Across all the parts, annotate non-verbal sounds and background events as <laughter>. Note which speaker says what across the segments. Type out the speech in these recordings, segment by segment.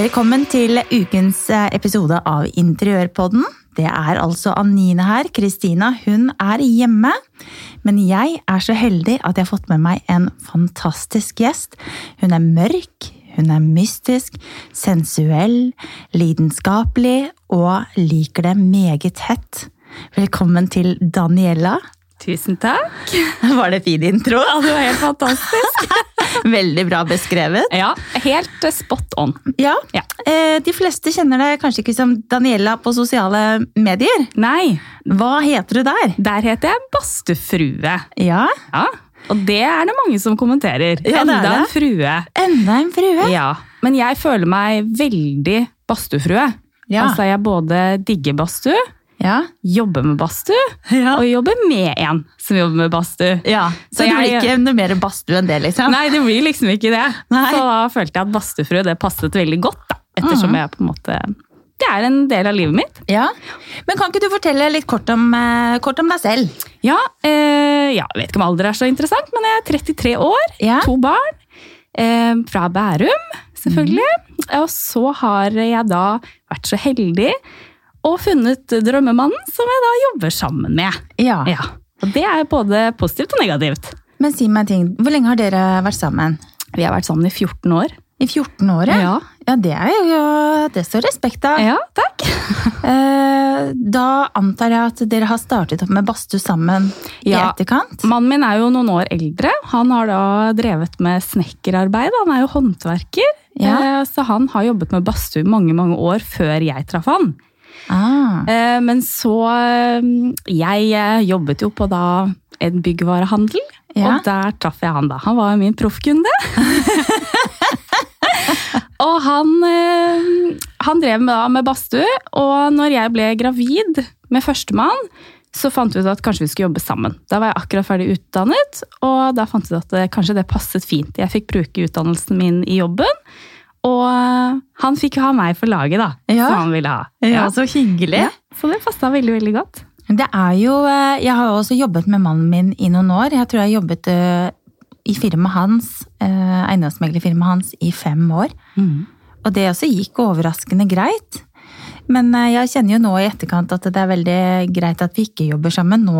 Speaker 1: Velkommen til ukens eh, episode av Interiørpodden. Det er altså Anine her. Kristina hun er hjemme. Men jeg er så heldig at jeg har fått med meg en fantastisk gjest. Hun er mørk, hun er mystisk, sensuell, lidenskapelig og liker det meget hett. Velkommen til Daniella.
Speaker 2: Tusen takk.
Speaker 1: <laughs> Var det fin intro?
Speaker 2: Ja, det var helt fantastisk.
Speaker 1: Veldig bra beskrevet.
Speaker 2: Ja, helt eh, spot on.
Speaker 1: Ja.
Speaker 2: Ja.
Speaker 1: Eh, De fleste kjenner deg kanskje ikke som Daniela på sosiale medier.
Speaker 2: Nei,
Speaker 1: Hva heter du der?
Speaker 2: der heter jeg Bastefrue.
Speaker 1: Ja,
Speaker 2: Ja, og det er det mange som kommenterer.
Speaker 1: Ja, det er
Speaker 2: Enda en
Speaker 1: det.
Speaker 2: frue.
Speaker 1: enda en frue.
Speaker 2: Ja, men jeg føler meg veldig badstuefrue.
Speaker 1: Ja.
Speaker 2: Altså, jeg både digger badstue,
Speaker 1: Ja.
Speaker 2: jobber med badstue,
Speaker 1: Ja.
Speaker 2: og jobber med en som jobber med badstue.
Speaker 1: Så
Speaker 2: Så
Speaker 1: det blir
Speaker 2: jeg-
Speaker 1: ikke noe mer badstue enn det, liksom?
Speaker 2: Nei, det blir liksom ikke det.
Speaker 1: Nei. Mhm.
Speaker 2: Så da følte jeg at badstuefrue det passet veldig godt, da. Ettersom jeg på en måte Det er en del av livet mitt.
Speaker 1: Ja. Men kan ikke du fortelle litt kort om, eh, kort om deg selv?
Speaker 2: Ja, eh, ja, jeg vet ikke om alder er så interessant, men jeg er 33 år,
Speaker 1: Ja.
Speaker 2: to barn, eh, fra Bærum, selvfølgelig.
Speaker 1: Mhm.
Speaker 2: Og så har jeg da vært så heldig og funnet drømmemannen som jeg da jobber sammen med.
Speaker 1: Ja.
Speaker 2: Ja, og det er både positivt og negativt.
Speaker 1: Men si meg en ting. Hvor lenge har dere vært sammen?
Speaker 2: Vi har vært sammen i 14 år.
Speaker 1: I 14 år, ja?
Speaker 2: Ja.
Speaker 1: Ja, det er jo Det står respekt av.
Speaker 2: Ja, takk.
Speaker 1: Eh, Da antar jeg at dere har startet opp med badstue sammen i
Speaker 2: Ja.
Speaker 1: etterkant?
Speaker 2: Mannen min er jo noen år eldre. Han har da drevet med snekkerarbeid. Han er jo håndverker.
Speaker 1: Ja.
Speaker 2: Eh, Så han har jobbet med badstue i mange, mange år før jeg traff han.
Speaker 1: Ah.
Speaker 2: Eh, Men så eh, Jeg eh, jobbet jo på da en byggvarehandel,
Speaker 1: Ja.
Speaker 2: og der traff jeg han da. Han var jo min proffkunde. <laughs> og han, eh, han drev med, da med badstue, og når jeg ble gravid med førstemann, så fant vi ut at kanskje vi skulle jobbe sammen. Da var jeg akkurat ferdig utdannet, og da fant vi ut at eh, kanskje det passet fint. Jeg fikk bruke utdannelsen min i jobben, og eh, han fikk jo ha meg for laget, da,
Speaker 1: Ja.
Speaker 2: som han ville ha.
Speaker 1: Ja, så hyggelig.
Speaker 2: Ja, så det passa veldig, veldig godt.
Speaker 1: Det er jo, eh, jeg har jo også jobbet med mannen min i noen år. Jeg tror jeg har jobbet eh, i firmaet hans, eh, eiendomsmeglerfirmaet hans i fem år.
Speaker 2: Mm.
Speaker 1: Og det også gikk overraskende greit. Men eh, jeg kjenner jo nå i etterkant at det er veldig greit at vi ikke jobber sammen nå.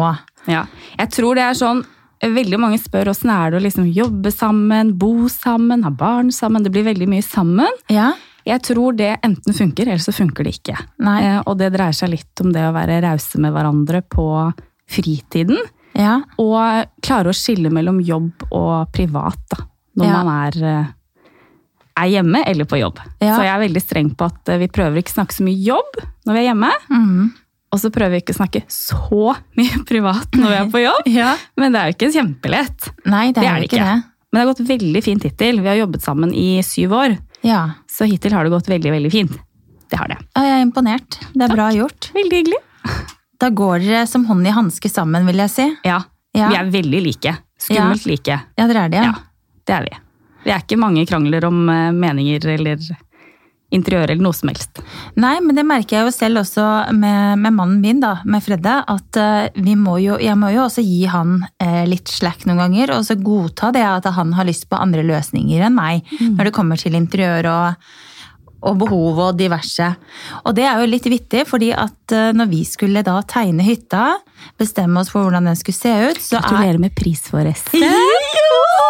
Speaker 2: Ja. Jeg tror det er sånn Veldig mange spør åssen er det å liksom jobbe sammen, bo sammen, ha barn sammen. Det blir veldig mye sammen.
Speaker 1: Ja,
Speaker 2: Jeg tror det enten funker, eller så funker det ikke.
Speaker 1: Nei.
Speaker 2: Eh, og det dreier seg litt om det å være rause med hverandre på fritiden.
Speaker 1: ja,
Speaker 2: Og klare å skille mellom jobb og privat, da. Når
Speaker 1: Ja.
Speaker 2: man er, eh, er hjemme eller på jobb.
Speaker 1: Ja.
Speaker 2: Så jeg er veldig streng på at eh, vi prøver ikke å snakke så mye jobb når vi er hjemme.
Speaker 1: mhm.
Speaker 2: Og så prøver vi ikke å snakke så mye <laughs> privat når vi er på jobb.
Speaker 1: Ja.
Speaker 2: Men det er jo ikke kjempelett.
Speaker 1: Nei, det,
Speaker 2: Det
Speaker 1: er jo ikke det.
Speaker 2: Men det har gått veldig fint hittil. Vi har jobbet sammen i syv år,
Speaker 1: Ja.
Speaker 2: så hittil har det gått veldig, veldig fint. Det har det.
Speaker 1: Ja, Jeg er imponert. Det er bra gjort.
Speaker 2: Veldig hyggelig.
Speaker 1: Da går dere som hånd i hanske sammen, vil jeg si.
Speaker 2: Ja,
Speaker 1: Ja.
Speaker 2: vi er veldig like. Skummelt like.
Speaker 1: Ja, dere er det,
Speaker 2: Ja, det er vi. Det er ikke mange krangler om eh, meninger eller interiør eller noe som helst.
Speaker 1: Nei, men det merker jeg jo selv også med, med mannen min, da, med Fredde. At eh, vi må jo, jeg må jo også gi han eh, litt slack noen ganger, og så godta det at han har lyst på andre løsninger enn meg.
Speaker 2: Mm.
Speaker 1: Når det kommer til interiør og, og behov og diverse. Og det er jo litt vittig, fordi at eh, når vi skulle da tegne hytta, bestemme oss for hvordan den skulle se ut, så er
Speaker 2: Gratulerer med pris, forresten.
Speaker 1: Jo!
Speaker 2: <laughs>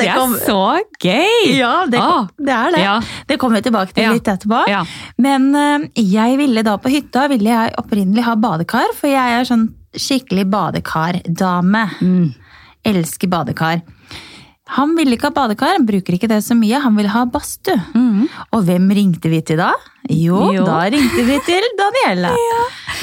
Speaker 2: Det er så gøy!
Speaker 1: <laughs> Ja, det,
Speaker 2: Ah.
Speaker 1: det er det.
Speaker 2: Ja.
Speaker 1: Det kommer vi tilbake til
Speaker 2: Ja.
Speaker 1: litt etterpå.
Speaker 2: Ja.
Speaker 1: Men eh, jeg ville da på hytta ville jeg opprinnelig ha badekar, for jeg er sånn skikkelig badekardame.
Speaker 2: Mm.
Speaker 1: Elsker badekar. Han ville ikke ha badekar, han bruker ikke det så mye. Han ville ha badstue. Og hvem ringte vi til da? Jo,
Speaker 2: Mm. Jo.
Speaker 1: da ringte vi
Speaker 2: <laughs>
Speaker 1: til Daniela.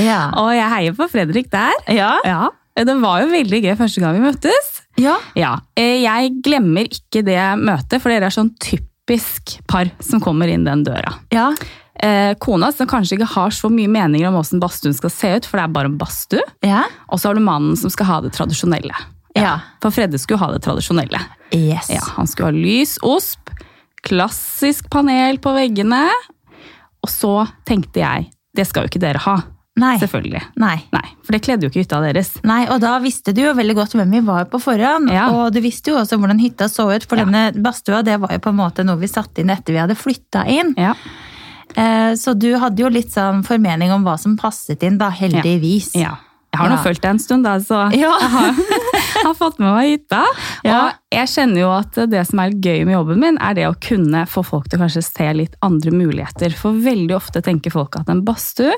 Speaker 1: ja.
Speaker 2: Og jeg heier på Fredrik der.
Speaker 1: Ja.
Speaker 2: Ja, det var jo veldig gøy første gang vi møttes.
Speaker 1: Ja.
Speaker 2: Ja, eh, jeg glemmer ikke det møtet, for dere er sånn typisk par som kommer inn den døra.
Speaker 1: Ja.
Speaker 2: Eh, Kona som kanskje ikke har så mye meninger om hvordan badstuen skal se ut, for det er bare en badstue.
Speaker 1: Ja.
Speaker 2: Og så har du mannen som skal ha det tradisjonelle.
Speaker 1: Ja.
Speaker 2: For Fredde skulle ha det tradisjonelle.
Speaker 1: Yes.
Speaker 2: Ja, han skulle ha lys, osp, klassisk panel på veggene. Og så tenkte jeg, det skal jo ikke dere ha.
Speaker 1: Nei.
Speaker 2: Selvfølgelig.
Speaker 1: Nei.
Speaker 2: Nei, for det kledde jo ikke hytta deres.
Speaker 1: Nei, og da visste du jo veldig godt hvem vi var på forhånd,
Speaker 2: Ja.
Speaker 1: og du visste jo også hvordan hytta så ut, for
Speaker 2: Ja.
Speaker 1: denne badstua det var jo på en måte noe vi satte inn etter vi hadde flytta inn.
Speaker 2: Ja.
Speaker 1: Eh, Så du hadde jo litt sånn formening om hva som passet inn, da, heldigvis.
Speaker 2: ja. Jeg har nå
Speaker 1: Ja.
Speaker 2: fulgt deg en stund, da, så
Speaker 1: Ja.
Speaker 2: jeg har, <laughs> har fått med meg hytta.
Speaker 1: Ja.
Speaker 2: Og jeg kjenner jo at det som er gøy med jobben min, er det å kunne få folk til å kanskje se litt andre muligheter. For veldig ofte tenker folk at en badstue,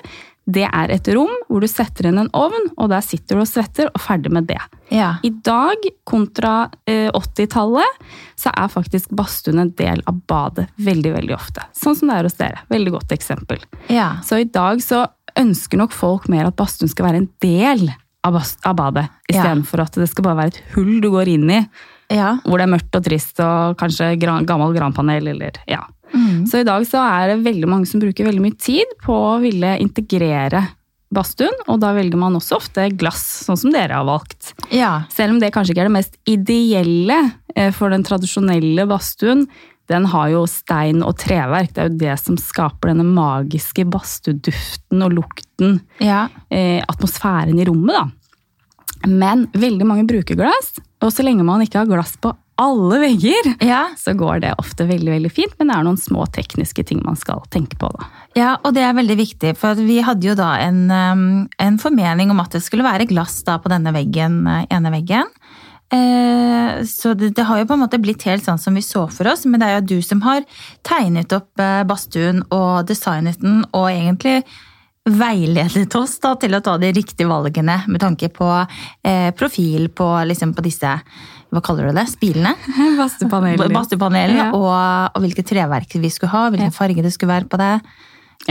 Speaker 2: det er et rom hvor du setter inn en ovn, og der sitter du og svetter, og ferdig med det.
Speaker 1: Ja.
Speaker 2: I dag kontra eh, 80-tallet så er faktisk badstuen en del av badet veldig veldig ofte. Sånn som det er hos dere. Veldig godt eksempel.
Speaker 1: ja.
Speaker 2: Så i dag så ønsker nok folk mer at badstuen skal være en del av, bas- av badet,
Speaker 1: Ja.
Speaker 2: istedenfor at det skal bare være et hull du går inn i,
Speaker 1: ja.
Speaker 2: hvor det er mørkt og trist og kanskje gran, gammel granpanel eller ja.
Speaker 1: Mm.
Speaker 2: Så i dag så er det veldig mange som bruker veldig mye tid på å ville integrere badstuen, og da velger man også ofte glass, sånn som dere har valgt.
Speaker 1: ja.
Speaker 2: Selv om det kanskje ikke er det mest ideelle eh, for den tradisjonelle badstuen, den har jo stein og treverk. Det er jo det som skaper denne magiske badstueduften og lukten,
Speaker 1: Ja.
Speaker 2: eh, atmosfæren i rommet, da. Men veldig mange bruker glass, og så lenge man ikke har glass på alle vegger,
Speaker 1: Ja.
Speaker 2: så går det ofte veldig veldig fint, men det er noen små tekniske ting man skal tenke på. da.
Speaker 1: Ja, og det er veldig viktig, for at vi hadde jo da en, um, en formening om at det skulle være glass da på denne veggen, eh, ene veggen. Eh, Så det, det har jo på en måte blitt helt sånn som vi så for oss, men det er jo du som har tegnet opp eh, badstuen og designet den, og egentlig veiledet oss da til å ta de riktige valgene med tanke på eh, profil på, liksom på disse, hva kaller du det, spilene?
Speaker 2: Badstuepanelet.
Speaker 1: Badstuepanelen,
Speaker 2: Ja.
Speaker 1: og, og hvilke treverk vi skulle ha, hvilken farge det skulle være på det.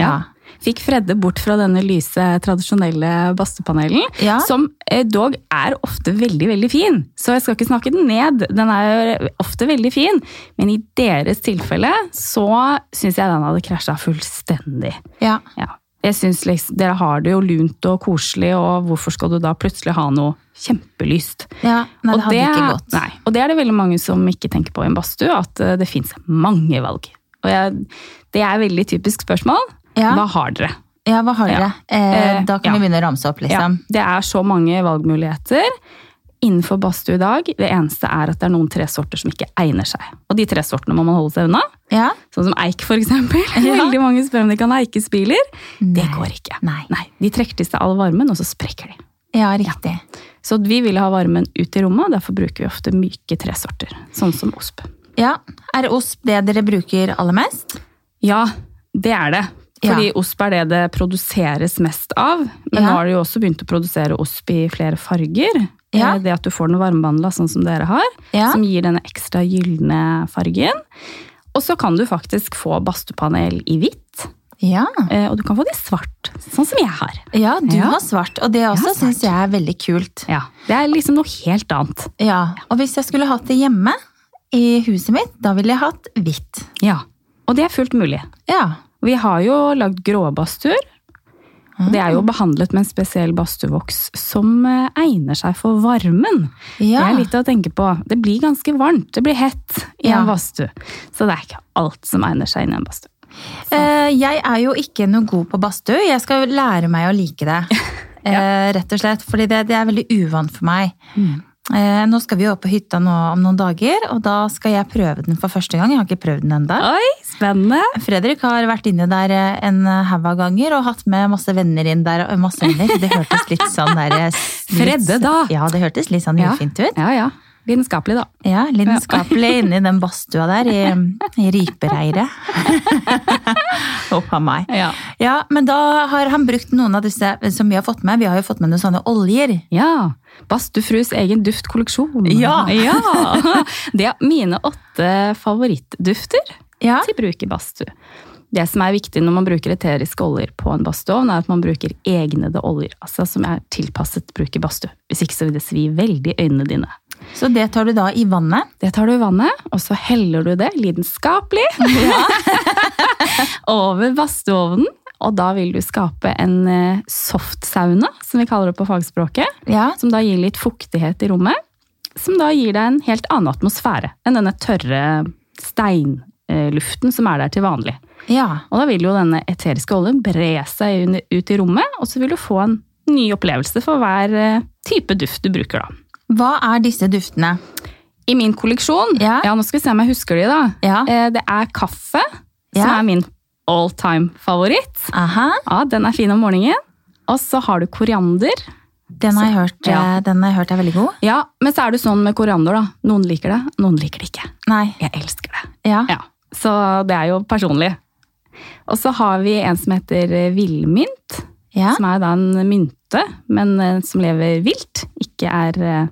Speaker 2: Ja. Fikk Fredde bort fra denne lyse, tradisjonelle badstuepanelen,
Speaker 1: Ja.
Speaker 2: som eh, dog er ofte veldig, veldig fin. Så jeg skal ikke snakke den ned, den er ofte veldig fin, men i deres tilfelle så syns jeg den hadde krasja fullstendig.
Speaker 1: Ja.
Speaker 2: Ja. Jeg synes liksom, Dere har det jo lunt og koselig, og hvorfor skal du da plutselig ha noe kjempelyst?
Speaker 1: ja. Nei,
Speaker 2: Og
Speaker 1: det hadde ikke gått.
Speaker 2: Nei, og det er det veldig mange som ikke tenker på i en badstue, at eh, det fins mange valg. Og jeg, det er veldig typisk spørsmål.
Speaker 1: Ja.
Speaker 2: Hva har dere?
Speaker 1: Ja, hva har dere? Eh,
Speaker 2: Eh,
Speaker 1: da kan
Speaker 2: ja.
Speaker 1: vi begynne å ramse opp,
Speaker 2: Ja,
Speaker 1: liksom.
Speaker 2: det er så mange valgmuligheter innenfor badstue i dag. Det eneste er at det er noen tresorter som ikke egner seg. Og de tresortene må man holde seg unna.
Speaker 1: Ja.
Speaker 2: Sånn som eik, for
Speaker 1: <laughs>
Speaker 2: eksempel. Veldig mange spør om de kan ha eikespiler. Det
Speaker 1: Nei.
Speaker 2: går ikke.
Speaker 1: Nei.
Speaker 2: De trekker til seg all varmen, og så sprekker de.
Speaker 1: Ja, riktig.
Speaker 2: Så vi vil ha varmen ut i rommet, og derfor bruker vi ofte myke tresorter. Sånn som osp.
Speaker 1: Ja. Er osp det dere bruker aller mest?
Speaker 2: Ja, det er det.
Speaker 1: Ja.
Speaker 2: Fordi osp er det det produseres mest av. Men
Speaker 1: Ja.
Speaker 2: nå har de jo også begynt å produsere osp i flere farger.
Speaker 1: Ja.
Speaker 2: Eh, Det at du får den varmebehandla sånn som dere har,
Speaker 1: Ja.
Speaker 2: som gir denne ekstra gylne fargen. Og så kan du faktisk få badstuepanel i hvitt,
Speaker 1: Ja.
Speaker 2: eh, og du kan få det i svart, sånn som jeg har.
Speaker 1: ja, du
Speaker 2: Ja.
Speaker 1: har svart, og det også
Speaker 2: har svart.
Speaker 1: syns jeg er veldig kult.
Speaker 2: Ja, Det er liksom noe helt annet.
Speaker 1: Ja, Og hvis jeg skulle hatt det hjemme, i huset mitt, da ville jeg hatt hvitt.
Speaker 2: Ja, Og det er fullt mulig.
Speaker 1: Ja.
Speaker 2: Vi har jo lagd gråbadstuer.
Speaker 1: Ah.
Speaker 2: og Det er jo behandlet med en spesiell badstuevoks som eh, egner seg for varmen. Det
Speaker 1: ja.
Speaker 2: er litt å tenke på. Det blir ganske varmt, det blir hett i
Speaker 1: Ja.
Speaker 2: en badstue. Så det er ikke alt som egner seg inn i en badstue.
Speaker 1: Eh, jeg er jo ikke noe god på badstue. Jeg skal jo lære meg å like
Speaker 2: <laughs>
Speaker 1: det. Eh, rett og slett, fordi det, det er veldig uvant for meg.
Speaker 2: Mm.
Speaker 1: Eh, nå skal vi jo opp på hytta nå om noen dager, og da skal jeg prøve den for første gang. Jeg har ikke prøvd den enda.
Speaker 2: Oi, spennende!
Speaker 1: Fredrik har vært inne der eh, en haug av ganger og hatt med masse venner inn der. og- Masse venner, Det hørtes litt sånn der eh, s- litt-
Speaker 2: Fredde, da.
Speaker 1: Ja, det hørtes litt sånn
Speaker 2: Ja.
Speaker 1: ufint ut.
Speaker 2: Ja, ja. Lidenskapelig, da.
Speaker 1: Ja, lidenskapelig inni den badstua der i, i
Speaker 2: <laughs>
Speaker 1: ripereiret. Huff a meg.
Speaker 2: Ja.
Speaker 1: Ja, men da har han brukt noen av disse som vi har fått med. Vi har jo fått med noen sånne oljer.
Speaker 2: ja. Badstuefrues egen duftkolleksjon.
Speaker 1: Ja.
Speaker 2: <laughs> Ja. Det er mine åtte favorittdufter
Speaker 1: Ja,
Speaker 2: til bruk i badstue. Det som er viktig når man bruker eteriske oljer på en badstueovn, er at man bruker egnede oljer, altså som er tilpasset bruk i badstue. Hvis ikke så vil det svi veldig i øynene dine.
Speaker 1: Så det tar du da i vannet.
Speaker 2: Det tar du i vannet, og så heller du det lidenskapelig <laughs> over badstueovnen. Og da vil du skape en eh, soft sauna, som vi kaller det på fagspråket.
Speaker 1: Ja,
Speaker 2: Som da gir litt fuktighet i rommet. Som da gir deg en helt annen atmosfære enn denne tørre steinluften eh, som er der til vanlig.
Speaker 1: Ja.
Speaker 2: Og da vil jo denne eteriske oljen bre seg under- ut i rommet, og så vil du få en ny opplevelse for hver eh, type duft du bruker, da.
Speaker 1: Hva er disse duftene?
Speaker 2: I min kolleksjon,
Speaker 1: Ja.
Speaker 2: nå skal vi se om jeg husker de, da.
Speaker 1: Ja.
Speaker 2: Eh, Det er kaffe, som
Speaker 1: Ja.
Speaker 2: er min all time favoritt.
Speaker 1: Aha,
Speaker 2: Ja, den er fin om morgenen. Og så har du koriander.
Speaker 1: den har jeg hørt,
Speaker 2: Ja.
Speaker 1: eh, den har jeg hørt er veldig god.
Speaker 2: Ja, men så er det sånn med koriander, da. Noen liker det, noen liker det ikke.
Speaker 1: Nei,
Speaker 2: Jeg elsker det.
Speaker 1: ja.
Speaker 2: Ja, Så det er jo personlig. Og så har vi en som heter eh, villmynt.
Speaker 1: Ja.
Speaker 2: Som er da en mynte, men eh, som lever vilt. Ikke er eh,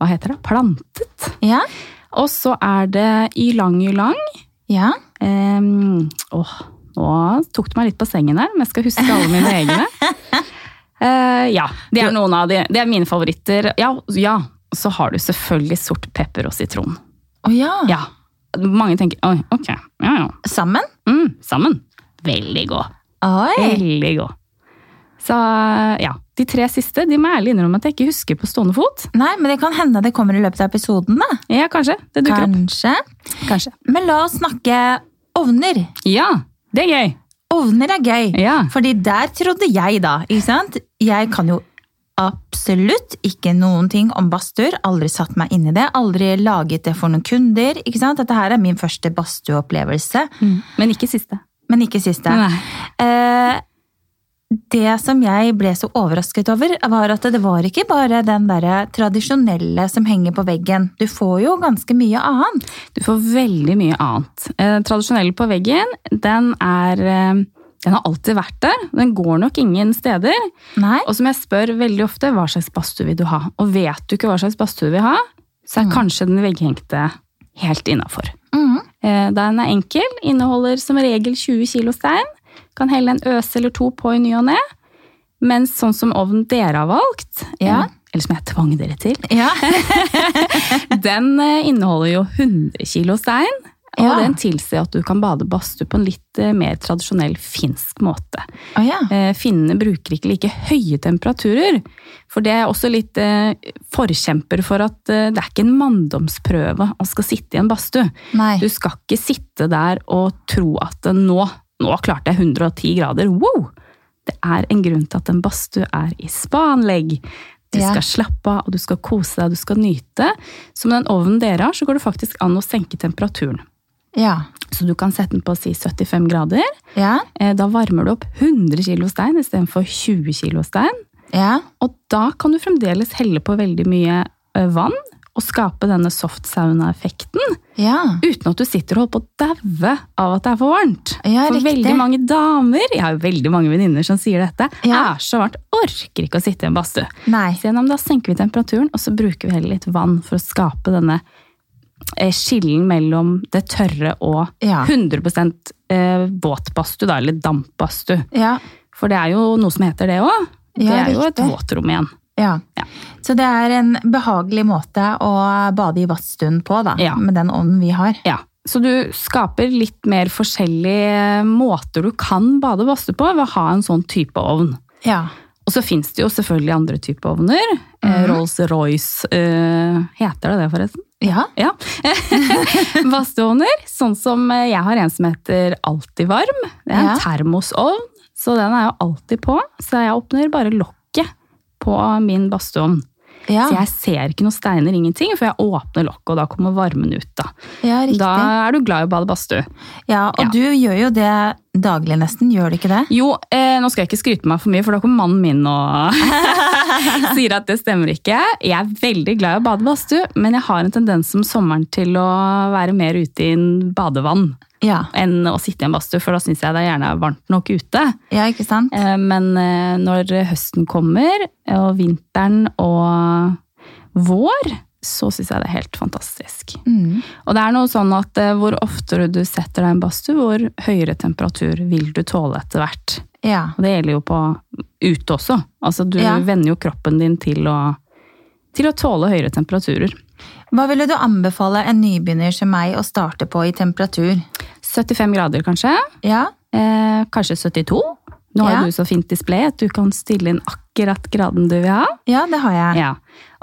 Speaker 2: Hva heter det? Plantet.
Speaker 1: Ja.
Speaker 2: Og så er det ylang-ylang.
Speaker 1: ja.
Speaker 2: Um, åh, nå tok du meg litt på sengen her, men jeg skal huske alle mine egne. Eh, ja, det er noen av de. Det er mine favoritter. Ja, ja. Så har du selvfølgelig sort pepper og sitron.
Speaker 1: Å ja.
Speaker 2: Ja. Mange tenker oi, ok, ja ja.
Speaker 1: Sammen?
Speaker 2: Mm, sammen. Veldig god.
Speaker 1: Oi.
Speaker 2: Veldig god. Så ja, de tre siste de må jeg ærlig innrømme at jeg ikke husker på stående fot.
Speaker 1: Nei, men det kan hende det kommer i løpet av episoden, da.
Speaker 2: Ja, kanskje. Det dukker opp.
Speaker 1: Kanskje.
Speaker 2: Kanskje.
Speaker 1: Men la oss snakke ovner.
Speaker 2: Ja, det er gøy.
Speaker 1: Ovner er gøy.
Speaker 2: Ja.
Speaker 1: Fordi der trodde jeg da, ikke sant? Jeg kan jo absolutt ikke noen ting om badstur, aldri satt meg inn i det, aldri laget det for noen kunder, ikke sant? Dette her er min første badstueopplevelse,
Speaker 2: Mm. Men ikke siste.
Speaker 1: men ikke siste.
Speaker 2: Nei.
Speaker 1: Eh, det som jeg ble så overrasket over, var at det var ikke bare den derre tradisjonelle som henger på veggen. Du får jo ganske mye annet.
Speaker 2: Du får veldig mye annet. Eh, tradisjonell på veggen, den er eh, den har alltid vært der. Den går nok ingen steder.
Speaker 1: Nei?
Speaker 2: Og som jeg spør veldig ofte, hva slags badstue vil du ha? Og vet du ikke hva slags badstue du vil ha, så er kanskje den vegghengte helt innafor.
Speaker 1: Mhm.
Speaker 2: Eh, Den er enkel, inneholder som regel 20 kilo stein. Kan helle en øse eller to på i ny og ne. Mens sånn som ovnen dere har valgt,
Speaker 1: Ja.
Speaker 2: eh, eller som jeg tvang dere til,
Speaker 1: Ja.
Speaker 2: den eh, inneholder jo 100 kilo stein, og
Speaker 1: Ja.
Speaker 2: den tilsier at du kan bade badstue på en litt eh, mer tradisjonell finsk måte.
Speaker 1: Å ja.
Speaker 2: Eh, Finnene bruker ikke like høye temperaturer, for det er også litt eh, forkjemper for at eh, det er ikke en manndomsprøve å skal sitte i en badstue.
Speaker 1: Nei.
Speaker 2: Du skal ikke sitte der og tro at eh, nå, nå klarte jeg 110 grader. Wow! Det er en grunn til at en badstue er i spaanlegg. Du
Speaker 1: Ja.
Speaker 2: skal slappe av, og du skal kose deg, du skal nyte. Så med den ovnen dere har, så går det faktisk an å senke temperaturen.
Speaker 1: Ja.
Speaker 2: Så du kan sette den på si 75 grader.
Speaker 1: Ja.
Speaker 2: Eh, Da varmer du opp 100 kilo stein istedenfor 20 kilo stein.
Speaker 1: Ja.
Speaker 2: Og da kan du fremdeles helle på veldig mye eh, vann og skape denne softsauna-effekten
Speaker 1: Ja.
Speaker 2: uten at du sitter og holder på å daue av at det er for varmt.
Speaker 1: Ja,
Speaker 2: for
Speaker 1: riktig.
Speaker 2: veldig mange damer, jeg har jo veldig mange venninner som sier dette,
Speaker 1: Ja.
Speaker 2: er så varmt, orker ikke å sitte i en badstue.
Speaker 1: Nei.
Speaker 2: Så gjennom da senker vi temperaturen, og så bruker vi heller litt vann for å skape denne eh, skillen mellom det tørre og
Speaker 1: Ja.
Speaker 2: 100 eh, våtbadstue, da, eller dampbadstue.
Speaker 1: Ja.
Speaker 2: For det er jo noe som heter det òg. Det
Speaker 1: Ja,
Speaker 2: er jo et
Speaker 1: riktig.
Speaker 2: våtrom igjen.
Speaker 1: Ja.
Speaker 2: Ja.
Speaker 1: Så det er en behagelig måte å bade i badstuen på, da.
Speaker 2: Ja.
Speaker 1: Med den ovnen vi har.
Speaker 2: Ja. Så du skaper litt mer forskjellige måter du kan bade badstue på ved å ha en sånn type ovn.
Speaker 1: Ja.
Speaker 2: Og så fins det jo selvfølgelig andre typer ovner.
Speaker 1: Mhm.
Speaker 2: Eh, Rolls-Royce eh, Heter det det, forresten?
Speaker 1: Ja.
Speaker 2: Ja. <laughs> Badstueovner. Sånn som eh, jeg har en som heter Alltid varm. Det er en
Speaker 1: Ja.
Speaker 2: termosovn, så den er jo alltid på. Så jeg åpner bare lokket på min badstueovn.
Speaker 1: Ja,
Speaker 2: Så jeg ser ikke noen steiner, ingenting, for jeg åpner lokket, og da kommer varmen ut. Da,
Speaker 1: ja riktig.
Speaker 2: da er du glad i å bade badstue.
Speaker 1: ja, og
Speaker 2: ja.
Speaker 1: du gjør jo det daglig nesten, gjør du ikke det?
Speaker 2: Jo, eh, nå skal jeg ikke skryte meg for mye, for da kommer mannen min og sier at det stemmer ikke. Jeg er veldig glad i å bade badstue, men jeg har en tendens om sommeren til å være mer ute i en badevann
Speaker 1: Ja.
Speaker 2: enn å sitte i en badstue, for da syns jeg det gjerne er varmt nok ute.
Speaker 1: Ja, ikke sant?
Speaker 2: Eh, Men eh, når høsten kommer, og vinteren og vår, så syns jeg det er helt fantastisk.
Speaker 1: Mm.
Speaker 2: Og det er noe sånn at eh, hvor oftere du setter deg i en badstue, hvor høyere temperatur vil du tåle etter hvert.
Speaker 1: Ja.
Speaker 2: Og det gjelder jo på ute også. Altså du
Speaker 1: Ja.
Speaker 2: venner jo kroppen din til å, til å tåle høyere temperaturer.
Speaker 1: Hva ville du anbefale en nybegynner som meg å starte på i temperatur?
Speaker 2: 75 grader kanskje.
Speaker 1: Ja,
Speaker 2: Eh, kanskje 72. Nå har
Speaker 1: Ja.
Speaker 2: jo du så fint display at du kan stille inn akkurat graden du vil ha.
Speaker 1: ja det har jeg.
Speaker 2: Ja.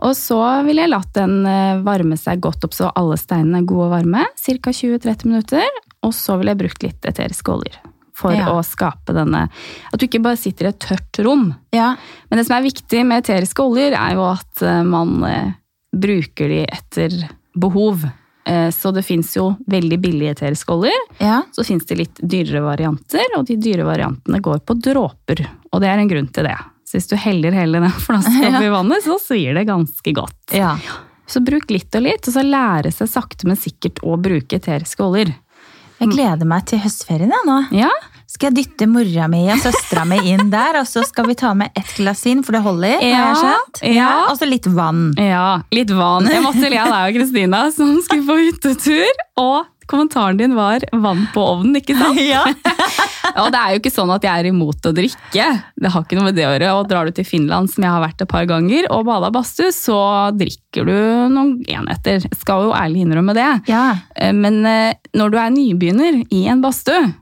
Speaker 2: Og så vil jeg latt den eh, varme seg godt opp så alle steinene er gode og varme. Ca. 20-30 minutter. Og så ville jeg brukt litt eteriske oljer for
Speaker 1: Ja.
Speaker 2: å skape denne At du ikke bare sitter i et tørt rom.
Speaker 1: Ja.
Speaker 2: Men det som er viktig med eteriske oljer, er jo at eh, man eh, bruker de etter behov. Eh, Så det fins jo veldig billige eteriske oljer.
Speaker 1: ja.
Speaker 2: Så fins det litt dyrere varianter, og de dyre variantene går på dråper. Og det er en grunn til det. Så hvis du heller hele
Speaker 1: <laughs>
Speaker 2: den flaska
Speaker 1: Ja.
Speaker 2: oppi vannet, så svir det ganske godt.
Speaker 1: ja.
Speaker 2: Så bruk litt og litt, og så lære seg sakte, men sikkert å bruke eteriske oljer.
Speaker 1: Jeg gleder meg til høstferien jeg, nå.
Speaker 2: Ja,
Speaker 1: Skal jeg dytte mora mi og søstera mi inn der, og så skal vi ta med ett glass vin, for det holder? har
Speaker 2: Ja,
Speaker 1: jeg skjønt?
Speaker 2: ja.
Speaker 1: Og så litt vann.
Speaker 2: Ja, litt vann. Jeg måtte le av deg og Kristina som skulle på hyttetur. Og kommentaren din var 'vann på ovnen', ikke sant?
Speaker 1: Ja.
Speaker 2: Og det er jo ikke sånn at jeg er imot å drikke. Det har ikke noe med det å gjøre. Og drar du til Finland, som jeg har vært et par ganger, og bada i badstue, så drikker du noen enheter. Jeg Skal jo ærlig innrømme
Speaker 1: <laughs>
Speaker 2: det.
Speaker 1: ja.
Speaker 2: Eh, Men eh, når du er nybegynner i en badstue,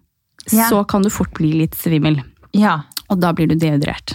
Speaker 1: Ja.
Speaker 2: så kan du fort bli litt svimmel.
Speaker 1: Ja.
Speaker 2: Og da blir du dehydrert.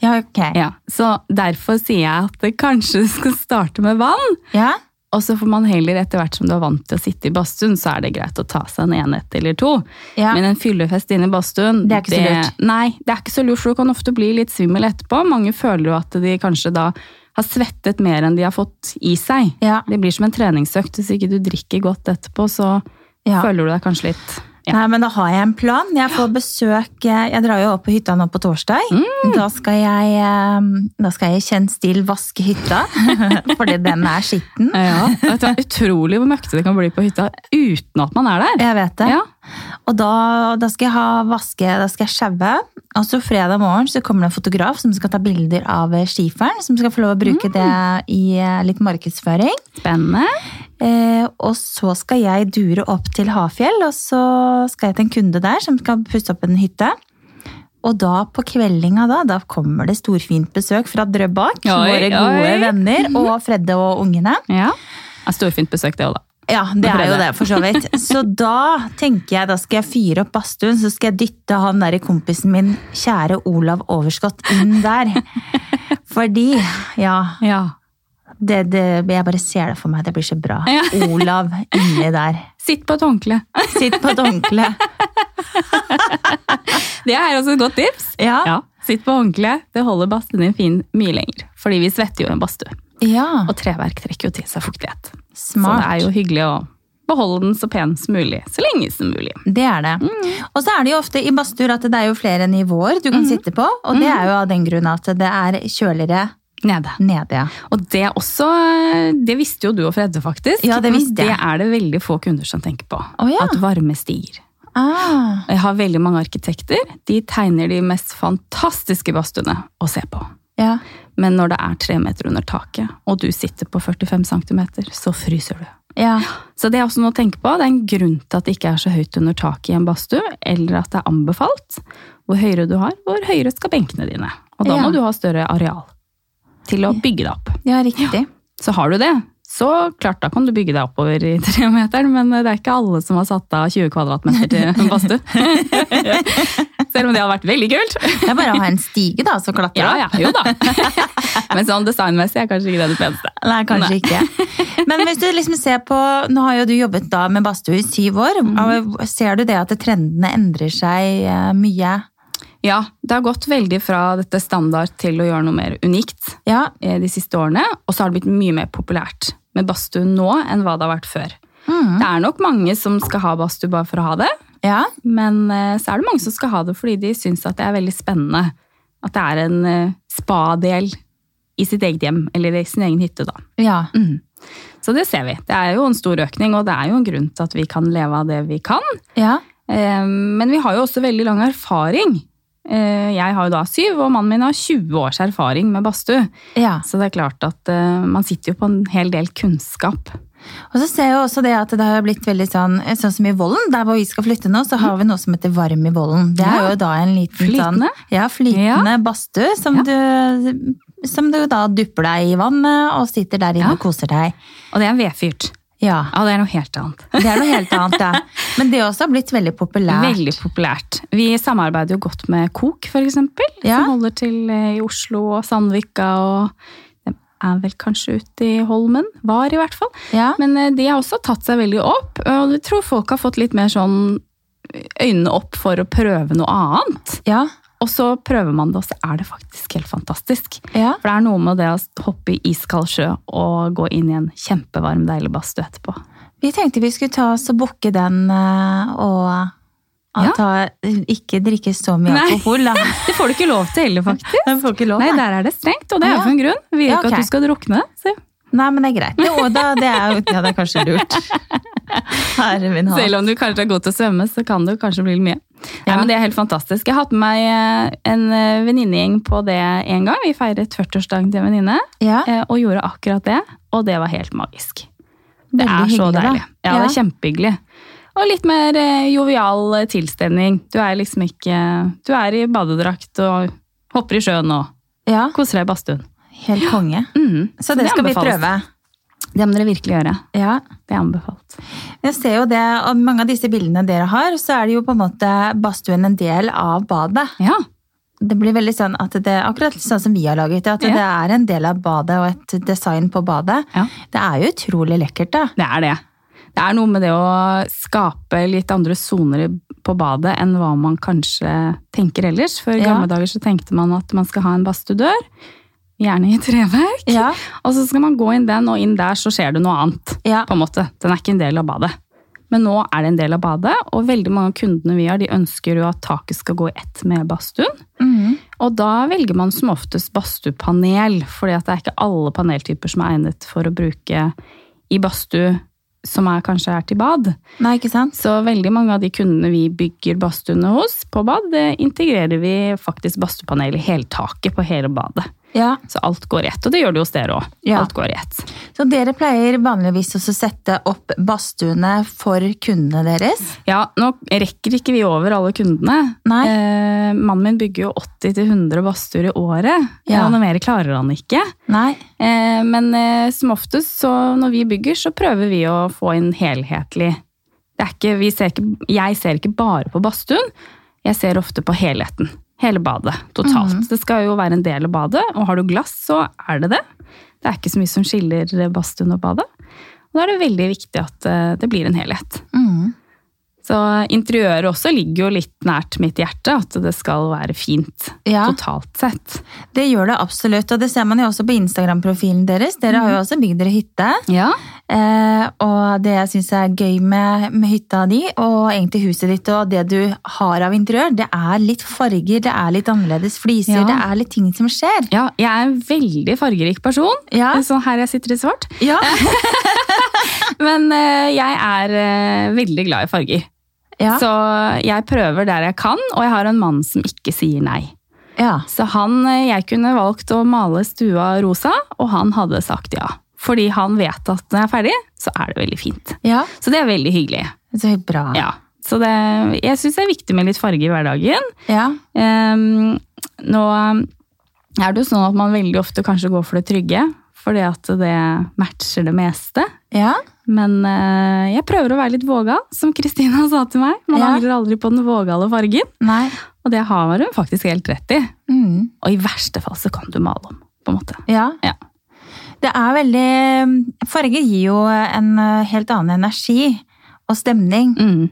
Speaker 1: Ja, ok.
Speaker 2: Ja, så derfor sier jeg at det kanskje du skal starte med vann.
Speaker 1: Ja.
Speaker 2: Og så får man heller, etter hvert som du er vant til å sitte i badstuen, så er det greit å ta seg en enhet eller to.
Speaker 1: Ja.
Speaker 2: Men en fyllefest inne i badstuen
Speaker 1: Det er ikke så lurt.
Speaker 2: Nei, det er ikke så lurt, for du kan ofte bli litt svimmel etterpå. Mange føler jo at de kanskje da har svettet mer enn de har fått i seg.
Speaker 1: Ja.
Speaker 2: Det blir som en treningsøkt. Hvis ikke du drikker godt etterpå, så
Speaker 1: Ja.
Speaker 2: føler du deg kanskje litt ja.
Speaker 1: Nei, men da har jeg en plan. Jeg får besøk eh, Jeg drar jo opp på hytta nå på torsdag.
Speaker 2: Mm.
Speaker 1: Da, skal jeg, eh, da skal jeg i kjent stil vaske hytta, <laughs> fordi den er skitten.
Speaker 2: Ja, vet du, hva? utrolig hvor møkkete det kan bli på hytta uten at man er der.
Speaker 1: Jeg vet det.
Speaker 2: Ja,
Speaker 1: Og da, da skal jeg ha vaske, da skal jeg sjaue. Og så fredag morgen så kommer det en fotograf som skal ta bilder av eh, skifaren. Som skal få lov å bruke
Speaker 2: Mm.
Speaker 1: det i eh, litt markedsføring.
Speaker 2: spennende.
Speaker 1: Eh, og så skal jeg dure opp til Hafjell, og så skal jeg til en kunde der som skal pusse opp en hytte. Og da på kveldinga da, da kommer det storfint besøk fra Drøbak.
Speaker 2: Oi,
Speaker 1: våre gode
Speaker 2: oi.
Speaker 1: venner
Speaker 2: <laughs>
Speaker 1: og Fredde og ungene.
Speaker 2: Ja, Det er Storfint besøk det òg, da.
Speaker 1: Ja, det
Speaker 2: Og
Speaker 1: er jo
Speaker 2: Fredde.
Speaker 1: det, for så vidt. Så da tenker jeg, da skal jeg fyre opp badstuen, så skal jeg dytte han der kompisen min, kjære Olav Overskott, inn der. Fordi, ja,
Speaker 2: Ja,
Speaker 1: det, det, jeg bare ser det for meg, det blir så bra.
Speaker 2: Ja.
Speaker 1: Olav inni der.
Speaker 2: Sitt på et håndkle.
Speaker 1: Sitt på et håndkle.
Speaker 2: Det er også et godt tips.
Speaker 1: Ja.
Speaker 2: Ja, Sitt på håndkle. Det holder badstuen din fin mye lenger. Fordi vi svetter jo i en badstue.
Speaker 1: Ja,
Speaker 2: Og treverk trekker jo til seg fuktighet. Så
Speaker 1: smart.
Speaker 2: det Sånn er jo hyggelig å beholde den så pen som mulig. Så lenge som mulig.
Speaker 1: Det er det. Og så er det jo ofte i badstuer at det er jo flere nivåer du kan sitte på. Og det er jo av den grunn at det er kjøligere
Speaker 2: Nede.
Speaker 1: nede. ja.
Speaker 2: Og det er også eh, Det visste jo du og Fredde, faktisk.
Speaker 1: Ja, det visste jeg.
Speaker 2: Men det er det veldig få kunder som tenker på.
Speaker 1: Å, ja.
Speaker 2: At varme stiger.
Speaker 1: Ah,
Speaker 2: Og Jeg har veldig mange arkitekter. De tegner de mest fantastiske badstuene å se på.
Speaker 1: ja.
Speaker 2: Men når det er tre meter under taket, og du sitter på 45 cm, så fryser du.
Speaker 1: Ja.
Speaker 2: Så det er også noe å tenke på. Det er en grunn til at det ikke er så høyt under taket i en badstue, eller at det er anbefalt. Hvor høyere du har, hvor høyere skal benkene dine. Og da
Speaker 1: Ja.
Speaker 2: må du ha større areal til å bygge deg opp.
Speaker 1: ja, riktig.
Speaker 2: Så har du det, så klart da kan du bygge deg oppover i <laughs> tremeteren, men det er ikke alle som har satt av 20 kvadratmeter til en <laughs> badstue. Selv om det hadde vært veldig kult.
Speaker 1: Det er bare å ha en stige da, som klatrer
Speaker 2: Ja,
Speaker 1: opp.
Speaker 2: ja, <laughs> jo da. Men sånn designmessig er kanskje ikke det det peneste.
Speaker 1: Nei, kanskje ikke. Men hvis du liksom ser på, nå har jo du jobbet da med badstue i syv år.
Speaker 2: Mm.
Speaker 1: Ser du det at trendene endrer seg eh, mye?
Speaker 2: Ja, det har gått veldig fra dette standard til å gjøre noe mer unikt
Speaker 1: Ja,
Speaker 2: eh, de siste årene. Og så har det blitt mye mer populært med badstue nå enn hva det har vært før. Det er nok mange som skal ha badstue bare for å ha det,
Speaker 1: ja,
Speaker 2: men eh, så er det mange som skal ha det fordi de syns at det er veldig spennende. At det er en eh, spadel i sitt eget hjem, eller i sin egen hytte, da.
Speaker 1: ja.
Speaker 2: Så det ser vi. Det er jo en stor økning, og det er jo en grunn til at vi kan leve av det vi kan.
Speaker 1: ja.
Speaker 2: Eh, Men vi har jo også veldig lang erfaring. Eh, Jeg har jo da syv, og mannen min har 20 års erfaring med badstue.
Speaker 1: ja.
Speaker 2: Så det er klart at eh, man sitter jo på en hel del kunnskap.
Speaker 1: Og så ser jeg jo også det at det har blitt veldig sånn, sånn som i Vollen, der hvor vi skal flytte nå, så har vi noe som heter Varm i Vollen. Det er
Speaker 2: Mm. Ja.
Speaker 1: jo da en liten
Speaker 2: Flytende.
Speaker 1: sånn ja, flytende badstue som, du, som du da dupper deg i vannet og sitter der inne og
Speaker 2: Ja.
Speaker 1: koser deg.
Speaker 2: Og det er vedfyrt.
Speaker 1: Ja,
Speaker 2: Ja, det er noe helt annet.
Speaker 1: det er noe helt annet, ja. Men det også har blitt veldig populært.
Speaker 2: Veldig populært. Vi samarbeider jo godt med Kok, for eksempel.
Speaker 1: Ja.
Speaker 2: Som holder til eh, i Oslo og Sandvika. Og de er vel kanskje ute i Holmen. Var, i hvert fall.
Speaker 1: Ja.
Speaker 2: Men eh, de har også tatt seg veldig opp, og jeg tror folk har fått litt mer sånn øynene opp for å prøve noe annet.
Speaker 1: Ja.
Speaker 2: Og så prøver man det, og så er det faktisk helt fantastisk.
Speaker 1: Ja.
Speaker 2: For det er noe med det å hoppe i iskald sjø og gå inn i en kjempevarm, deilig badstue etterpå.
Speaker 1: Vi tenkte vi skulle ta oss og booke den eh, og
Speaker 2: Ja.
Speaker 1: ta, ikke drikke så mye
Speaker 2: <laughs> Nei.
Speaker 1: alkohol, da.
Speaker 2: Det får du ikke lov til heller, faktisk.
Speaker 1: Den får ikke lov.
Speaker 2: Nei,
Speaker 1: Nei,
Speaker 2: der er det strengt, og det er jo
Speaker 1: Ja.
Speaker 2: for en grunn. Vi vil
Speaker 1: Ja,
Speaker 2: ikke
Speaker 1: ok.
Speaker 2: at du skal drukne. Så.
Speaker 1: Nei, men det er greit. Jo, da, det er, jo- ja, det er kanskje
Speaker 2: <laughs>
Speaker 1: lurt. Herre min hatt.
Speaker 2: Selv om du kanskje er god til å svømme, så kan det jo kanskje bli litt mye. Nei,
Speaker 1: Ja.
Speaker 2: men Det er helt fantastisk. Jeg har hatt med meg eh, en eh, venninnegjeng på det en gang. Vi feiret 40-årsdagen til en venninne
Speaker 1: Ja,
Speaker 2: eh, og gjorde akkurat det. Og det var helt magisk. Det
Speaker 1: veldig
Speaker 2: er så
Speaker 1: hyggelig, da.
Speaker 2: deilig. Ja, det er kjempehyggelig. Og litt mer eh, jovial eh, tilstemning. Du er liksom ikke Du er i badedrakt og hopper i sjøen og
Speaker 1: ja,
Speaker 2: koser deg i badstuen.
Speaker 1: helt konge.
Speaker 2: Mm.
Speaker 1: Så det skal vi
Speaker 2: anbefales.
Speaker 1: prøve.
Speaker 2: Det må dere virkelig gjøre.
Speaker 1: Ja.
Speaker 2: Det er anbefalt.
Speaker 1: Jeg ser jo det, og mange av disse bildene dere har, så er det jo på en måte badstuen en del av badet.
Speaker 2: Ja.
Speaker 1: Det blir veldig sånn at det, akkurat sånn som vi har laget det, at
Speaker 2: Ja.
Speaker 1: det er en del av badet og et design på badet.
Speaker 2: Ja.
Speaker 1: Det er jo utrolig lekkert, da.
Speaker 2: Det er det. Det er noe med det å skape litt andre soner i- på badet enn hva man kanskje tenker ellers. For i
Speaker 1: Ja.
Speaker 2: gamle dager så tenkte man at man skal ha en badstuedør, gjerne i treverk.
Speaker 1: Ja,
Speaker 2: Og så skal man gå inn den, og inn der så skjer det noe annet.
Speaker 1: ja,
Speaker 2: på en måte. Den er ikke en del av badet. Men nå er det en del av badet, og veldig mange av kundene vi har, de ønsker jo at taket skal gå i ett med badstuen.
Speaker 1: mhm,
Speaker 2: Og da velger man som oftest badstuepanel, fordi at det er ikke alle paneltyper som er egnet for å bruke i badstue som er, kanskje er til bad.
Speaker 1: Nei, ikke sant?
Speaker 2: Så veldig mange av de kundene vi bygger badstuene hos på bad, det integrerer vi faktisk badstuepanel i hele taket på hele badet.
Speaker 1: Ja.
Speaker 2: Så alt går i ett, og det gjør det jo hos dere òg.
Speaker 1: Ja.
Speaker 2: Alt går i ett.
Speaker 1: Så dere pleier vanligvis også å sette opp badstuene for kundene deres?
Speaker 2: Ja, nå rekker ikke vi over alle kundene.
Speaker 1: Nei.
Speaker 2: Eh, mannen min bygger jo 80-100 badstuer i året.
Speaker 1: Ja.
Speaker 2: og Noe mer klarer han ikke.
Speaker 1: Nei.
Speaker 2: Eh, men eh, som oftest så når vi bygger, så prøver vi å få inn helhetlig. Det er ikke, vi ser ikke, jeg ser ikke bare på badstuen, jeg ser ofte på helheten. Hele badet, totalt.
Speaker 1: Mhm.
Speaker 2: Det skal jo være en del av badet, og har du glass, så er det det. Det er ikke så mye som skiller badstuen og badet. Og da er det veldig viktig at eh, det blir en helhet.
Speaker 1: Mhm.
Speaker 2: Så interiøret også ligger jo litt nært mitt hjerte, at det skal være fint
Speaker 1: Ja.
Speaker 2: totalt sett.
Speaker 1: Det gjør det absolutt, og det ser man jo også på Instagram-profilen deres. Dere
Speaker 2: Mm.
Speaker 1: har jo også bygd dere hytte.
Speaker 2: Ja.
Speaker 1: Eh, og det jeg syns er gøy med, med hytta di, og egentlig huset ditt og det du har av interiør, det er litt farger, det er litt annerledes fliser,
Speaker 2: Ja.
Speaker 1: det er litt ting som skjer.
Speaker 2: jeg er en veldig fargerik person.
Speaker 1: Ja.
Speaker 2: Sånn her jeg sitter i svart.
Speaker 1: Ja.
Speaker 2: Men eh, jeg er eh, veldig glad i farger.
Speaker 1: <laughs> Ja.
Speaker 2: Så jeg prøver der jeg kan, og jeg har en mann som ikke sier nei.
Speaker 1: ja.
Speaker 2: Så han, eh, jeg kunne valgt å male stua rosa, og han hadde sagt ja. Fordi han vet at når jeg er ferdig, så er det veldig fint.
Speaker 1: ja.
Speaker 2: Så det er veldig hyggelig.
Speaker 1: Så bra.
Speaker 2: Ja. Så det, jeg syns det er viktig med litt farge i hverdagen.
Speaker 1: Ja.
Speaker 2: Ehm, nå er det jo sånn at man veldig ofte kanskje går for det trygge, fordi at det matcher det meste.
Speaker 1: Ja.
Speaker 2: Men eh, jeg prøver å være litt vågal, som Kristina sa til meg. Man
Speaker 1: Ja.
Speaker 2: angrer aldri på den vågale fargen,
Speaker 1: Nei.
Speaker 2: og det har hun faktisk helt rett i.
Speaker 1: Mm.
Speaker 2: Og i verste fall så kan du male om, på en måte.
Speaker 1: Ja.
Speaker 2: Ja.
Speaker 1: Det er veldig Farger gir jo en eh, helt annen energi og stemning,
Speaker 2: Mm.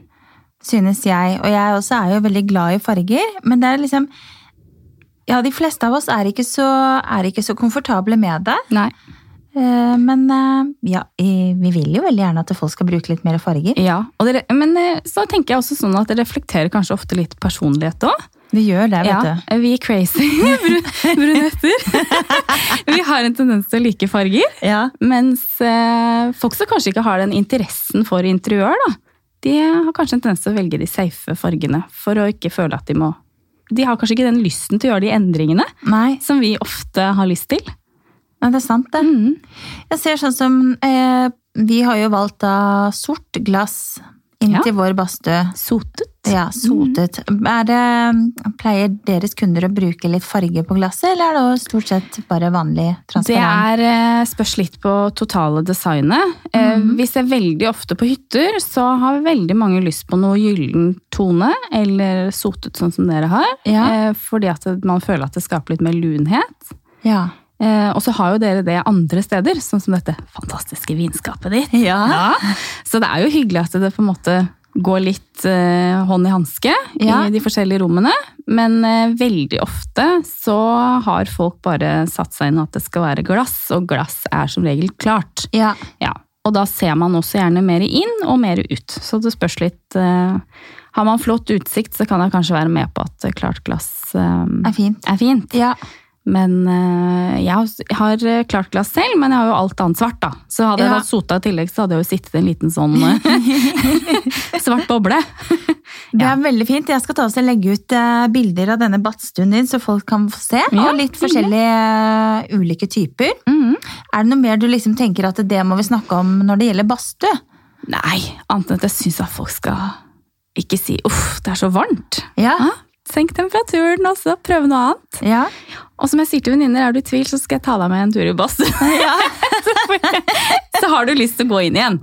Speaker 1: synes jeg. Og jeg også er jo veldig glad i farger, men det er liksom Ja, de fleste av oss er ikke så, er ikke så komfortable med det.
Speaker 2: Nei.
Speaker 1: Eh, Men eh, ja, eh, vi vil jo veldig gjerne at folk skal bruke litt mer farger.
Speaker 2: Ja, og det, men eh, så tenker jeg også sånn at det reflekterer kanskje ofte litt personlighet òg.
Speaker 1: Det gjør det, vet
Speaker 2: Ja, vi er crazy <laughs> Brun-
Speaker 1: <laughs>
Speaker 2: brunetter. vi har en tendens til å like farger,
Speaker 1: du. Ja.
Speaker 2: mens eh, folk som kanskje ikke har den interessen for interiør, da, de har kanskje en tendens til å velge de safe fargene for å ikke føle at de må De har kanskje ikke den lysten til å gjøre de endringene
Speaker 1: Nei,
Speaker 2: som vi ofte har lyst til.
Speaker 1: nei, det er sant, det.
Speaker 2: Mm.
Speaker 1: Jeg ser sånn som eh, Vi har jo valgt da sort glass inn
Speaker 2: Ja. Mm.
Speaker 1: til vår badstue.
Speaker 2: Sotet.
Speaker 1: Ja, sotet. Er det, pleier deres kunder å bruke litt farge på glasset, eller er det også stort sett bare vanlig
Speaker 2: Det
Speaker 1: transparent?
Speaker 2: er eh, spørs litt på totale designet. Eh, Vi ser veldig ofte på hytter, så har veldig mange lyst på noe gyllen tone, eller sotet sånn som dere har.
Speaker 1: Ja.
Speaker 2: Eh, Fordi at man føler at det skaper litt mer lunhet.
Speaker 1: Ja.
Speaker 2: Eh, Eh, og så har jo dere det andre steder, sånn som dette fantastiske vinskapet ditt.
Speaker 1: Ja.
Speaker 2: Så det er jo hyggelig at det på en måte går litt eh, hånd i hanske
Speaker 1: Ja.
Speaker 2: i de forskjellige rommene. Men eh, veldig ofte så har folk bare satt seg inn at det skal være glass, og glass er som regel klart.
Speaker 1: Ja.
Speaker 2: Ja, og da ser man også gjerne mer inn og mer ut. Så det spørs litt eh, Har man flott utsikt, så kan jeg kanskje være med på at klart glass eh,
Speaker 1: Er fint.
Speaker 2: er fint.
Speaker 1: Ja.
Speaker 2: Men eh, jeg har- jeg har eh, klart glass selv, men jeg har jo alt annet svart, da. Så hadde jeg
Speaker 1: Ja.
Speaker 2: vært sota i tillegg, så hadde jeg jo sittet i en liten sånn eh, <laughs> svart boble.
Speaker 1: Det er veldig fint. Jeg skal ta oss og legge ut eh, bilder av denne badstuen din, så folk kan få se.
Speaker 2: Ja,
Speaker 1: og litt forskjellige eh, ulike typer.
Speaker 2: Mhm.
Speaker 1: Er det noe mer du liksom tenker at det må vi snakke om når det gjelder badstue?
Speaker 2: Nei, annet enn at jeg syns at folk skal ikke si 'uff, det er så varmt'.
Speaker 1: Ja.
Speaker 2: Ja, senk temperaturen, og så prøve noe annet.
Speaker 1: ja.
Speaker 2: Og som jeg sier til venninner, er du i tvil, så skal jeg ta deg med en tur i <laughs> badstuen. så har du lyst til å gå inn igjen.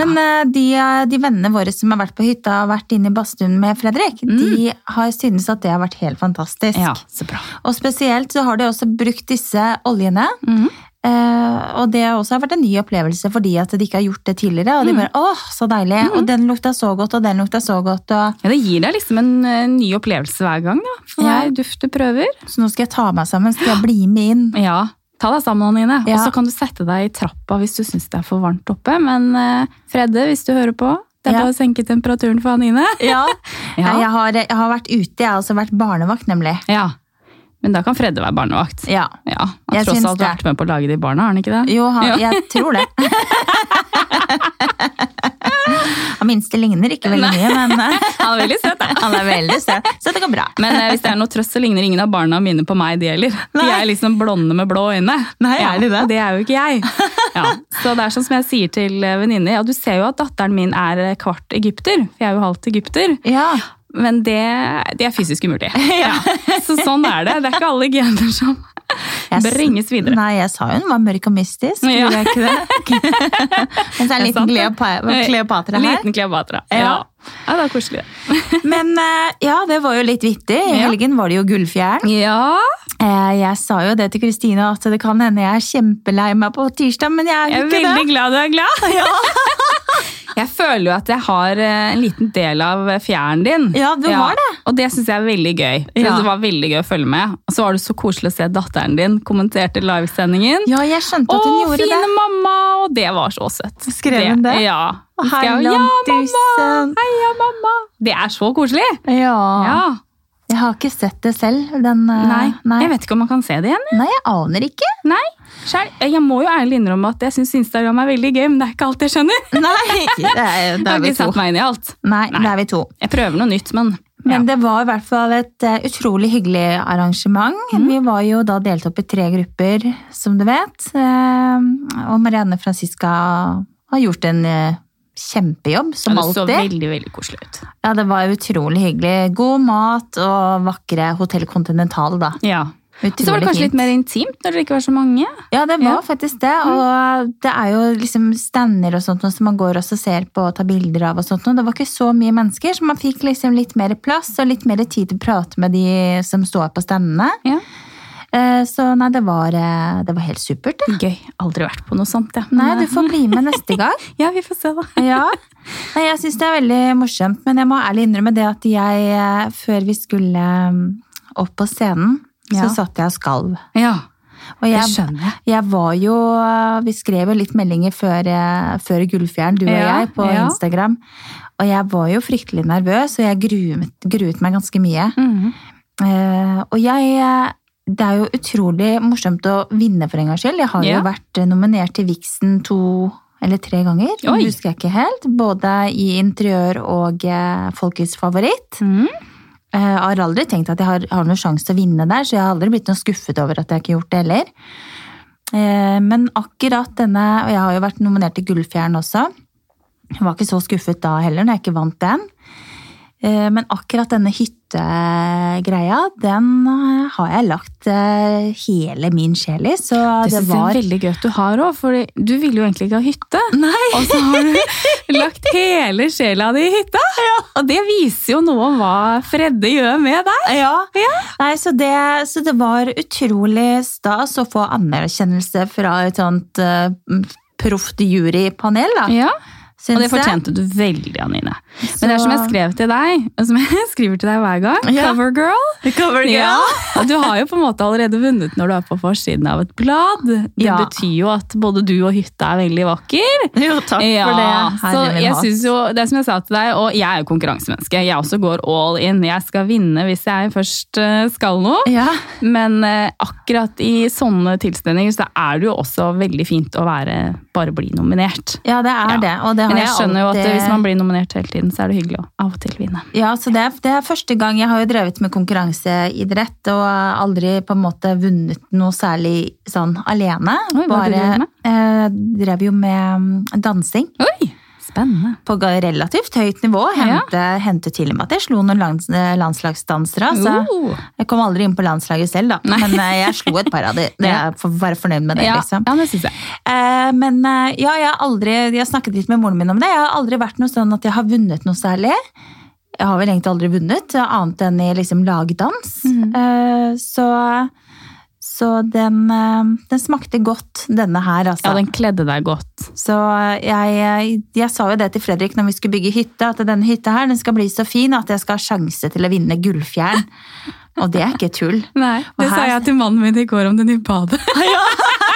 Speaker 1: Men eh, de, eh, de vennene våre som har vært på hytta og vært inne i badstuen med Fredrik, de har syntes at det har vært helt fantastisk.
Speaker 2: Ja, så bra.
Speaker 1: Og spesielt så har de også brukt disse oljene.
Speaker 2: Mhm.
Speaker 1: Eh, og det også har vært en ny opplevelse fordi at de ikke har gjort det tidligere. Og de bare åh, så deilig. Og den lukta så godt, og den lukta så godt. Og...
Speaker 2: Ja, det gir deg liksom en eh, ny opplevelse hver gang, da. For
Speaker 1: Ja.
Speaker 2: hver duft du prøver.
Speaker 1: Så nå skal jeg ta meg sammen, skal jeg bli med inn.
Speaker 2: Ja, ta deg sammen, Anine.
Speaker 1: Ja.
Speaker 2: Og så kan du sette deg i trappa hvis du syns det er for varmt oppe. Men eh, Fredde, hvis du hører på, det er
Speaker 1: Ja.
Speaker 2: bare å senke temperaturen
Speaker 1: <laughs>
Speaker 2: for Anine.
Speaker 1: <laughs> Ja. Nei,
Speaker 2: Ja.
Speaker 1: Jeg, har, jeg har vært ute, jeg har også vært barnevakt, nemlig.
Speaker 2: ja. Men da kan Fredde være barnevakt.
Speaker 1: Ja.
Speaker 2: Ja, Han
Speaker 1: Jeg
Speaker 2: har tross
Speaker 1: syns
Speaker 2: alt
Speaker 1: det.
Speaker 2: vært med på å lage de barna, har han ikke det?
Speaker 1: Jo, han,
Speaker 2: Ja.
Speaker 1: jeg tror <laughs> det. Han minste ligner ikke veldig mye, <laughs> men eh,
Speaker 2: <laughs> Han er veldig søt, da.
Speaker 1: han er veldig søt, så det går bra.
Speaker 2: Men eh, hvis det er noe trøst, så ligner ingen av barna mine på meg, de heller. De
Speaker 1: Nei.
Speaker 2: er liksom blonde med blå øyne.
Speaker 1: Nei,
Speaker 2: ja,
Speaker 1: er de det?
Speaker 2: Og det er jo
Speaker 1: <laughs>
Speaker 2: ikke jeg. Ja, så det er sånn som jeg sier til eh, venninner, ja, du ser jo at datteren min er eh, kvart egypter, for jeg er jo halvt egypter.
Speaker 1: Ja.
Speaker 2: Men det, det er fysisk
Speaker 1: <laughs>
Speaker 2: umulig. Ja. Så sånn er det. Det er ikke alle gener som
Speaker 1: Jeg s-
Speaker 2: bringes videre.
Speaker 1: Nei, jeg sa jo hun var mørk og mystisk.
Speaker 2: Ja.
Speaker 1: Gjorde jeg ikke det?
Speaker 2: <laughs>
Speaker 1: Men så er en
Speaker 2: Det er sant, Eh,
Speaker 1: liten Kleopa- Kleopatra her.
Speaker 2: Liten <laughs> Kleopatra.
Speaker 1: Ja.
Speaker 2: ja, det er koselig.
Speaker 1: Men eh, ja, det var jo litt vittig. I
Speaker 2: Ja.
Speaker 1: helgen var det jo gullfjern.
Speaker 2: Ja,
Speaker 1: Eh, Jeg sa jo det til Kristine at det kan hende jeg er kjempelei meg på tirsdag, men jeg
Speaker 2: jeg
Speaker 1: er
Speaker 2: er
Speaker 1: jo ikke
Speaker 2: veldig
Speaker 1: det.
Speaker 2: glad du er glad.
Speaker 1: <laughs>
Speaker 2: <laughs> Jeg føler jo at jeg har eh, en liten del av fjæren din.
Speaker 1: Ja, du har det.
Speaker 2: Og det syns jeg er veldig gøy. Så
Speaker 1: Ja.
Speaker 2: Det var veldig gøy å følge med. Og så var det så koselig å se datteren din kommenterte livesendingen.
Speaker 1: Ja, jeg skjønte
Speaker 2: Å,
Speaker 1: at hun gjorde
Speaker 2: fine
Speaker 1: det.
Speaker 2: mamma! Og det var så søtt.
Speaker 1: Skrev hun det?
Speaker 2: Ja. Hun skrev,
Speaker 1: Herland,
Speaker 2: ja, mamma!
Speaker 1: tusen.
Speaker 2: Heia, mamma! Det er så koselig!
Speaker 1: Ja.
Speaker 2: Ja.
Speaker 1: Jeg har ikke sett det selv. Den, eh,
Speaker 2: Nei.
Speaker 1: nei.
Speaker 2: Jeg vet ikke om man kan se det igjen.
Speaker 1: nei, jeg aner ikke. <laughs>
Speaker 2: Nei. Skjær. eh, Jeg må jo ærlig innrømme at jeg syns Instagram er veldig gøy, men det er ikke alt jeg skjønner.
Speaker 1: Nei, det er,
Speaker 2: <laughs> Jeg
Speaker 1: da er
Speaker 2: har
Speaker 1: vi
Speaker 2: ikke
Speaker 1: to.
Speaker 2: satt meg inn i alt.
Speaker 1: Nei,
Speaker 2: Nei.
Speaker 1: det er vi to.
Speaker 2: Jeg prøver noe nytt, men
Speaker 1: Men det var i hvert fall et eh, utrolig hyggelig arrangement.
Speaker 2: Mhm.
Speaker 1: Vi var jo da delt opp i tre grupper, som du vet. Eh, Og Marianne Franziska har gjort en eh, kjempejobb, som
Speaker 2: Ja, det så
Speaker 1: alltid.
Speaker 2: veldig veldig koselig ut.
Speaker 1: Ja, det var utrolig hyggelig. God mat og vakre Hotell Continental, da.
Speaker 2: Ja.
Speaker 1: Utrolig
Speaker 2: Så var det kanskje
Speaker 1: fint.
Speaker 2: litt mer intimt når det ikke var så mange.
Speaker 1: Ja, det var
Speaker 2: Ja. Mm.
Speaker 1: faktisk det. Og det er jo liksom stander og sånt noe som man går og så ser på og tar bilder av. og sånt. noe. Det var ikke så mye mennesker, så man fikk liksom litt mer plass og litt mer tid til å prate med de som står på standene.
Speaker 2: Ja.
Speaker 1: Eh, Så nei, det var, eh, det var helt supert. Det.
Speaker 2: Gøy. Aldri vært på noe sånt, jeg.
Speaker 1: Nei, du får bli med neste
Speaker 2: <laughs>
Speaker 1: gang.
Speaker 2: Ja, vi får se, da.
Speaker 1: Ja. Nei, jeg syns det er veldig morsomt, men jeg må ærlig innrømme det at jeg, eh, før vi skulle mm, opp på scenen,
Speaker 2: Ja.
Speaker 1: så satt jeg og skalv.
Speaker 2: Ja,
Speaker 1: Og
Speaker 2: det
Speaker 1: jeg
Speaker 2: skjønner jeg.
Speaker 1: Jeg var jo eh, Vi skrev jo litt meldinger før, eh, før Gullfjern, du og
Speaker 2: Ja,
Speaker 1: jeg, på
Speaker 2: ja.
Speaker 1: Instagram. Og jeg var jo fryktelig nervøs, og jeg gruet, gruet meg ganske mye. Eh, og jeg eh, Det er jo utrolig morsomt å vinne for en gangs skyld. Jeg har
Speaker 2: Ja.
Speaker 1: jo vært eh, nominert til Vixen to eller tre ganger,
Speaker 2: Oi.
Speaker 1: det husker jeg ikke helt. Både i interiør og eh, folkets favoritt.
Speaker 2: Mhm.
Speaker 1: Eh, Jeg har aldri tenkt at jeg har, har noen sjanse til å vinne der, så jeg har aldri blitt noe skuffet over at jeg ikke har gjort det heller. Eh, Men akkurat denne, og jeg har jo vært nominert til Gullfjern også, jeg var ikke så skuffet da heller når jeg ikke vant den. Eh, Eh, Men akkurat denne hyttegreia, den eh, har jeg lagt eh, hele min sjel i. Så
Speaker 2: Det
Speaker 1: det,
Speaker 2: synes
Speaker 1: var
Speaker 2: jeg er veldig gøy at du har òg, for du ville jo egentlig ikke ha hytte.
Speaker 1: <laughs> Nei!
Speaker 2: Og så har du lagt hele sjela di i hytta! Og det viser jo noe om hva Fredde gjør med deg.
Speaker 1: Ja. Nei, så, det, så det var utrolig stas å få anerkjennelse fra et sånt eh, proft jurypanel, da.
Speaker 2: Ja,
Speaker 1: Syns
Speaker 2: Og det
Speaker 1: jeg.
Speaker 2: fortjente du veldig, Anine.
Speaker 1: Så-
Speaker 2: Men det er som jeg skrev til deg, og som jeg <laughs> skriver til deg hver gang.
Speaker 1: Ja.
Speaker 2: Covergirl.
Speaker 1: Cover girl.
Speaker 2: Ja. Og du har jo på en måte allerede vunnet når du er på forsiden av et blad. Det
Speaker 1: Ja.
Speaker 2: betyr jo at både du og hytta er veldig vakker.
Speaker 1: Jo, takk for det.
Speaker 2: så
Speaker 1: Herre min
Speaker 2: jeg
Speaker 1: hatt.
Speaker 2: synes jo, det er som jeg sa til deg, og jeg er jo konkurransemenneske. Jeg også går all in. Jeg skal vinne hvis jeg først eh, skal noe.
Speaker 1: Ja.
Speaker 2: Men eh, akkurat i sånne tilstelninger så er det jo også veldig fint å være, bare bli nominert.
Speaker 1: ja, det er
Speaker 2: Ja.
Speaker 1: det. Og det har
Speaker 2: Men jeg skjønner jo at
Speaker 1: alltid...
Speaker 2: hvis man blir nominert hele tiden, så er det hyggelig å av og til vinne.
Speaker 1: Ja, så det, er- det er første gang jeg har jo drevet med konkurranseidrett og aldri på en måte vunnet noe særlig sånn alene.
Speaker 2: Oi, hva har du drevet med?
Speaker 1: eh, drev jo med mm, dansing
Speaker 2: Oi, spennende.
Speaker 1: på ga- relativt høyt nivå. Hente, hente til og med at jeg slo noen lands, eh, landslagsdansere. Så
Speaker 2: Oh.
Speaker 1: jeg kom aldri inn på landslaget selv, da. Men eh, jeg slo et par av de. Det
Speaker 2: <laughs> Ja.
Speaker 1: er for å være fornøyd med det,
Speaker 2: Ja,
Speaker 1: liksom.
Speaker 2: ja, det synes jeg.
Speaker 1: Eh, Men eh, ja, jeg har aldri Jeg har snakket litt med moren min om det. Jeg har aldri vært noe sånn at jeg har vunnet noe særlig. Jeg har vel egentlig aldri vunnet, annet enn i liksom lagdans.
Speaker 2: Mhm.
Speaker 1: Eh, Så, så den, eh, den smakte godt, denne her, altså.
Speaker 2: Ja, den kledde deg godt.
Speaker 1: Så jeg, jeg, jeg sa jo det til Fredrik når vi skulle bygge hytte, at denne hytta her den skal bli så fin at jeg skal ha sjanse til å vinne gullfjern. Og det er ikke tull.
Speaker 2: Nei, det
Speaker 1: Og
Speaker 2: sa
Speaker 1: her- Ah,
Speaker 2: jeg til mannen min i går om det nye
Speaker 1: <laughs>
Speaker 2: badet.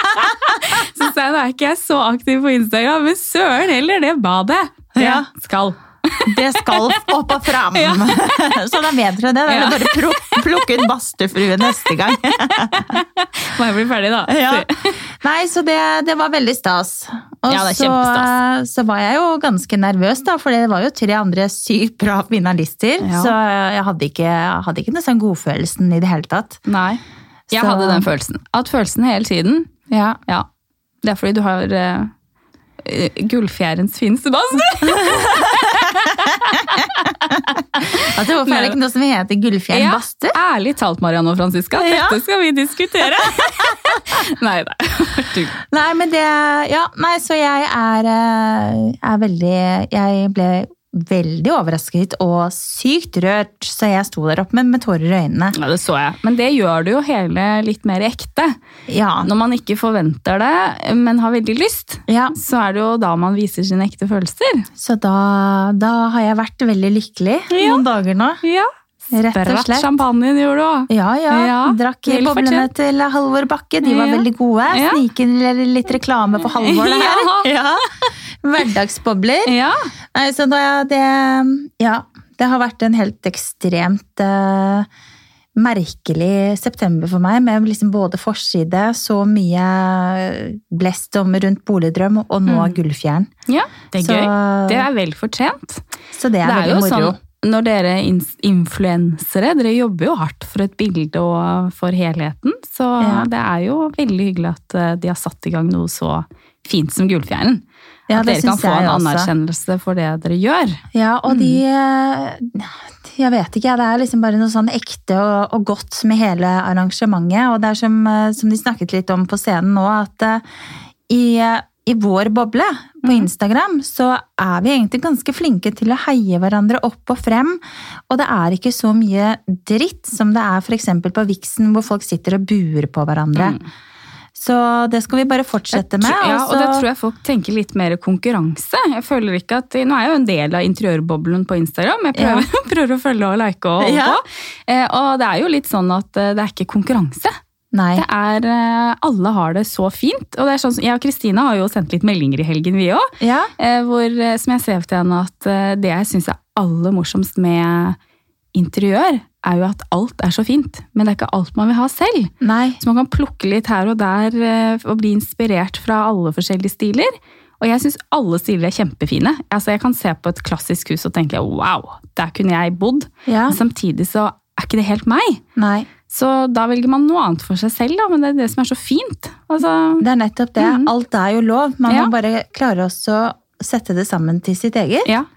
Speaker 2: <laughs> Så sa jeg, nå er ikke jeg så aktiv på Instagram, men søren heller det badet. Det
Speaker 1: Ja.
Speaker 2: skal.
Speaker 1: Det skal opp og fram! <laughs> Så da vet dere det. Da er det
Speaker 2: Ja.
Speaker 1: bare pluk- plukke ut badstufrue neste
Speaker 2: <laughs>
Speaker 1: gang.
Speaker 2: Må jeg bli ferdig da?
Speaker 1: Ja. Nei, så det, det var veldig stas. Og
Speaker 2: Ja, det er
Speaker 1: så,
Speaker 2: kjempestas.
Speaker 1: så var jeg jo ganske nervøs, da, for det var jo tre andre sykt bra finalister.
Speaker 2: Ja.
Speaker 1: Så jeg hadde ikke, jeg hadde ikke den sånn godfølelsen i det hele tatt.
Speaker 2: Nei, jeg
Speaker 1: Så-
Speaker 2: hadde den følelsen. At følelsen hele tiden,
Speaker 1: Ja.
Speaker 2: ja. Det er fordi du har eh, eh, gullfjærens fineste
Speaker 1: <laughs>
Speaker 2: badstue.
Speaker 1: At det hvorfor er det ikke noe som heter Gullfjell
Speaker 2: Ja,
Speaker 1: badstue?
Speaker 2: Ærlig talt, Marianne og Franziska,
Speaker 1: Ja.
Speaker 2: dette skal vi diskutere. <laughs> Nei,
Speaker 1: <laughs>
Speaker 2: nei.
Speaker 1: Nei, men det Ja, nei, så jeg er, eh, er veldig Jeg ble veldig overrasket og sykt rørt, så jeg sto der oppe med, med tårer i øynene.
Speaker 2: Ja, det så jeg. Men det gjør det jo hele litt mer ekte.
Speaker 1: Ja.
Speaker 2: Når man ikke forventer det, men har veldig lyst,
Speaker 1: ja.
Speaker 2: så er det jo da man viser sine ekte følelser.
Speaker 1: Så da, da har jeg vært veldig lykkelig
Speaker 2: Ja.
Speaker 1: noen dager nå.
Speaker 2: Ja,
Speaker 1: Rett og
Speaker 2: Spratt
Speaker 1: slett.
Speaker 2: champagnen gjorde du òg.
Speaker 1: Ja, ja.
Speaker 2: Ja,
Speaker 1: Drakk
Speaker 2: vel
Speaker 1: boblene
Speaker 2: fortjent.
Speaker 1: til Halvor Bakke. De var
Speaker 2: Ja.
Speaker 1: veldig gode.
Speaker 2: Ja.
Speaker 1: Snike inn litt reklame på
Speaker 2: <laughs>
Speaker 1: Halvor, det her. Ja. Hverdagsbobler.
Speaker 2: Ja.
Speaker 1: Nei, så da, det Ja. Det har vært en helt ekstremt eh, merkelig september for meg, med liksom både forside, så mye eh, blest om rundt boligdrøm, og nå gullfjern.
Speaker 2: ja, Mm. det er
Speaker 1: Så-
Speaker 2: gøy. Det er vel fortjent.
Speaker 1: Så det er,
Speaker 2: Det er jo
Speaker 1: veldig moro.
Speaker 2: sånn når dere ins- influensere, dere jobber jo hardt for et bilde og for helheten, så
Speaker 1: Ja.
Speaker 2: det er jo veldig hyggelig at eh, de har satt i gang noe så fint som Gullfjæren.
Speaker 1: Ja,
Speaker 2: at
Speaker 1: det
Speaker 2: dere kan
Speaker 1: synes
Speaker 2: få
Speaker 1: jeg
Speaker 2: en
Speaker 1: også.
Speaker 2: anerkjennelse for det dere gjør.
Speaker 1: Ja, og de
Speaker 2: Mm.
Speaker 1: eh, Jeg vet ikke, jeg. Det er liksom bare noe sånn ekte og, og godt med hele arrangementet. Og det er som, eh, som de snakket litt om på scenen nå, at eh, i, eh, i vår boble på
Speaker 2: Mm.
Speaker 1: Instagram så er vi egentlig ganske flinke til å heie hverandre opp og frem. Og det er ikke så mye dritt som det er f.eks. på Vixen, hvor folk sitter og buer på hverandre. Så det skal vi bare fortsette med. altså-
Speaker 2: Tro- Ja, og
Speaker 1: så-
Speaker 2: det tror Mm. jeg folk tenker litt mer konkurranse. Jeg føler ikke at, Nå er jeg jo en del av interiørboblen på Instagram, jeg prøver, <laughs> prøver å følge og like og holde
Speaker 1: Ja.
Speaker 2: på. Eh, og det er jo litt sånn at eh, det er ikke konkurranse.
Speaker 1: Nei.
Speaker 2: Det er, eh, Alle har det så fint. og det er sånn, som- Jeg og Kristina har jo sendt litt meldinger i helgen, vi òg.
Speaker 1: Ja.
Speaker 2: Eh, hvor, eh, som jeg skrev til henne, at eh, det jeg syns er aller morsomst med interiør, er jo at alt er så fint, men det er ikke alt man vil ha selv.
Speaker 1: Nei.
Speaker 2: Så man kan plukke litt her og der eh, og bli inspirert fra alle forskjellige stiler. Og jeg syns alle stiler er kjempefine. Altså, jeg kan se på et klassisk hus og tenke wow, der kunne jeg bodd.
Speaker 1: Ja.
Speaker 2: Men Samtidig så er ikke det helt meg.
Speaker 1: Nei.
Speaker 2: Så da velger man noe annet for seg selv, da, men det er det som er så fint. Altså,
Speaker 1: Det er nettopp det. Alt er jo lov. Man
Speaker 2: Mhm. Ja.
Speaker 1: må bare klare også å sette det sammen til sitt eget.
Speaker 2: ja.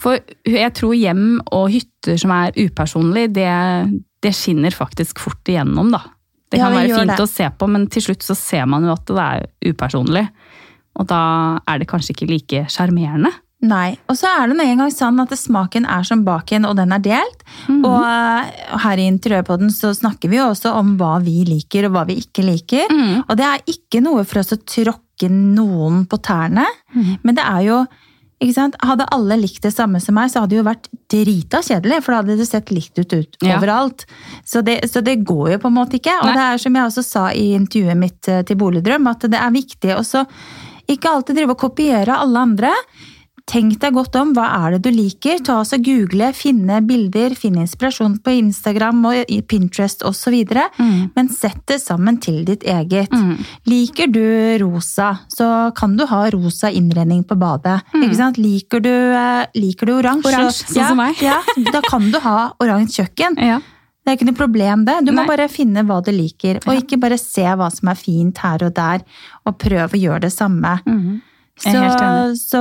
Speaker 2: For jeg tror hjem og hytter som er upersonlig, det, det skinner faktisk fort igjennom, da. Det
Speaker 1: Ja,
Speaker 2: kan
Speaker 1: det
Speaker 2: være
Speaker 1: gjør
Speaker 2: fint
Speaker 1: det.
Speaker 2: å se på, men til slutt så ser man jo at det er upersonlig. Og da er det kanskje ikke like sjarmerende.
Speaker 1: Nei. Og så er det nå engang sånn at smaken er som baken, og den er delt.
Speaker 2: Mhm.
Speaker 1: Og eh, her i Interiørpodden så snakker vi jo også om hva vi liker, og hva vi ikke liker.
Speaker 2: Mhm.
Speaker 1: Og det er ikke noe for oss å tråkke noen på tærne,
Speaker 2: Mhm.
Speaker 1: men det er jo ikke sant? Hadde alle likt det samme som meg, så hadde det jo vært drita kjedelig. For da hadde det sett likt ut, ut
Speaker 2: Ja.
Speaker 1: overalt. Så det, så det går jo på en måte ikke. Og
Speaker 2: Nei.
Speaker 1: det er som jeg også sa i intervjuet mitt eh, til Boligdrøm, at det er viktig også ikke alltid drive og kopiere alle andre. Tenk deg godt om. Hva er det du liker? Ta oss og Google, finne bilder, finne inspirasjon på Instagram og i Pinterest osv.
Speaker 2: Mm.
Speaker 1: Men sett det sammen til ditt eget.
Speaker 2: Mm.
Speaker 1: Liker du rosa, så kan du ha rosa innredning på badet. Ikke sant? Liker du, eh, liker du oransje?
Speaker 2: Mm. Oransje, sånn
Speaker 1: ja,
Speaker 2: som meg.
Speaker 1: ja, da kan du ha oransje kjøkken.
Speaker 2: Ja.
Speaker 1: Det er ikke noe problem det. Du må
Speaker 2: Nei.
Speaker 1: bare finne hva du liker, og ikke bare se hva som er fint her og der, og prøve å gjøre det samme. Så,
Speaker 2: Mm, Jeg er helt enig.
Speaker 1: så,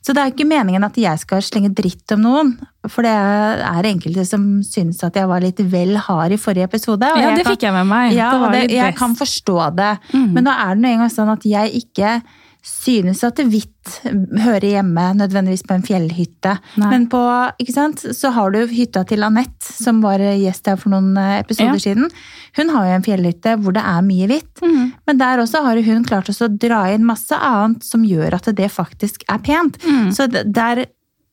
Speaker 1: så det er ikke meningen at jeg skal slenge dritt om noen, for det er enkelte som synes at jeg var litt vel hard i forrige episode. og
Speaker 2: ja,
Speaker 1: jeg
Speaker 2: det
Speaker 1: kan-
Speaker 2: fikk jeg med meg.
Speaker 1: ja,
Speaker 2: Det var
Speaker 1: og det,
Speaker 2: litt
Speaker 1: jeg
Speaker 2: press.
Speaker 1: kan forstå det.
Speaker 2: Mhm.
Speaker 1: Men nå er det nå engang sånn at jeg ikke synes at hvitt hører hjemme nødvendigvis på en fjellhytte.
Speaker 2: Nei.
Speaker 1: Men på, ikke sant, så har du hytta til Anette, som var gjest her for noen eh, episoder
Speaker 2: Ja.
Speaker 1: siden. Hun har jo en fjellhytte hvor det er mye hvitt.
Speaker 2: Mhm.
Speaker 1: Men der også har hun klart også å dra inn masse annet som gjør at det faktisk er pent.
Speaker 2: Mhm.
Speaker 1: Så d- der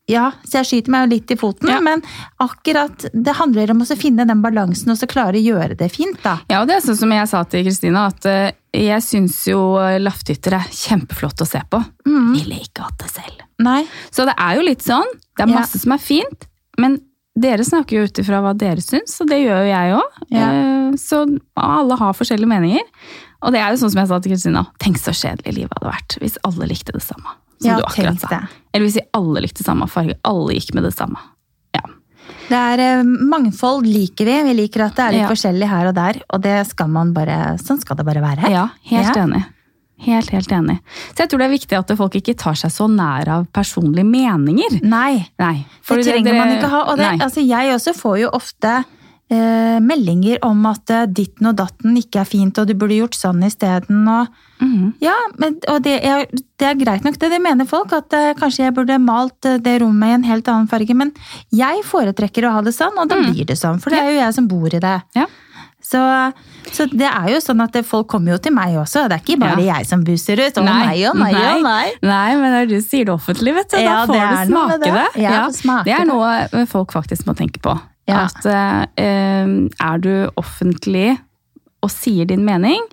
Speaker 1: ja, så jeg skyter meg jo litt i foten,
Speaker 2: Ja.
Speaker 1: men akkurat det handler om å så finne den balansen og så klare å gjøre det fint, da.
Speaker 2: Ja, og det er sånn som jeg sa til Kristina, at eh, jeg syns jo lafthytter er kjempeflott å se på.
Speaker 1: Mhm.
Speaker 2: Ville ikke hatt det selv.
Speaker 1: Nei.
Speaker 2: Så det er jo litt sånn, det er
Speaker 1: Ja.
Speaker 2: masse som er fint, men dere snakker jo ut ifra hva dere syns, og det gjør jo jeg òg.
Speaker 1: Ja.
Speaker 2: Så alle har forskjellige meninger. Og det er jo sånn som jeg sa til Kristina, tenk så kjedelig livet hadde vært hvis alle likte det samme. Som
Speaker 1: Ja,
Speaker 2: du
Speaker 1: tenk
Speaker 2: akkurat sa.
Speaker 1: det.
Speaker 2: Eller hvis vi alle likte samme farge. Alle gikk med det samme. Ja.
Speaker 1: Det er eh, mangfold liker vi. Vi liker at det er litt
Speaker 2: Ja.
Speaker 1: forskjellig her og der, og det skal man bare, sånn skal det bare være.
Speaker 2: Ja, helt
Speaker 1: Ja.
Speaker 2: enig. Helt, helt enig. Så jeg tror det er viktig at folk ikke tar seg så nær av personlige meninger.
Speaker 1: Nei,
Speaker 2: Nei.
Speaker 1: det trenger man ikke ha. Og det,
Speaker 2: nei.
Speaker 1: altså, jeg også får jo ofte eh, meldinger om at eh, ditten og datten ikke er fint, og du burde gjort sånn isteden. Og,
Speaker 2: Mhm.
Speaker 1: ja, men, og det, er, det er greit nok, det, det mener folk, at eh, kanskje jeg burde malt eh, det rommet i en helt annen farge, men jeg foretrekker å ha det sånn, og da blir det sånn, for det er jo jeg som bor i det.
Speaker 2: Mm. Ja.
Speaker 1: Så, så det er jo sånn at det- folk kommer jo til meg også. Det er ikke bare jeg som buser ut. Å nei, å nei, å nei.
Speaker 2: Nei, men når du sier det offentlig, vet du,
Speaker 1: Ja,
Speaker 2: da
Speaker 1: det
Speaker 2: får
Speaker 1: er noe
Speaker 2: du smake
Speaker 1: med
Speaker 2: det.
Speaker 1: det. Ja, får smake
Speaker 2: det er
Speaker 1: det.
Speaker 2: noe eh, folk faktisk må tenke på.
Speaker 1: Ja.
Speaker 2: At eh, er du offentlig og sier din mening,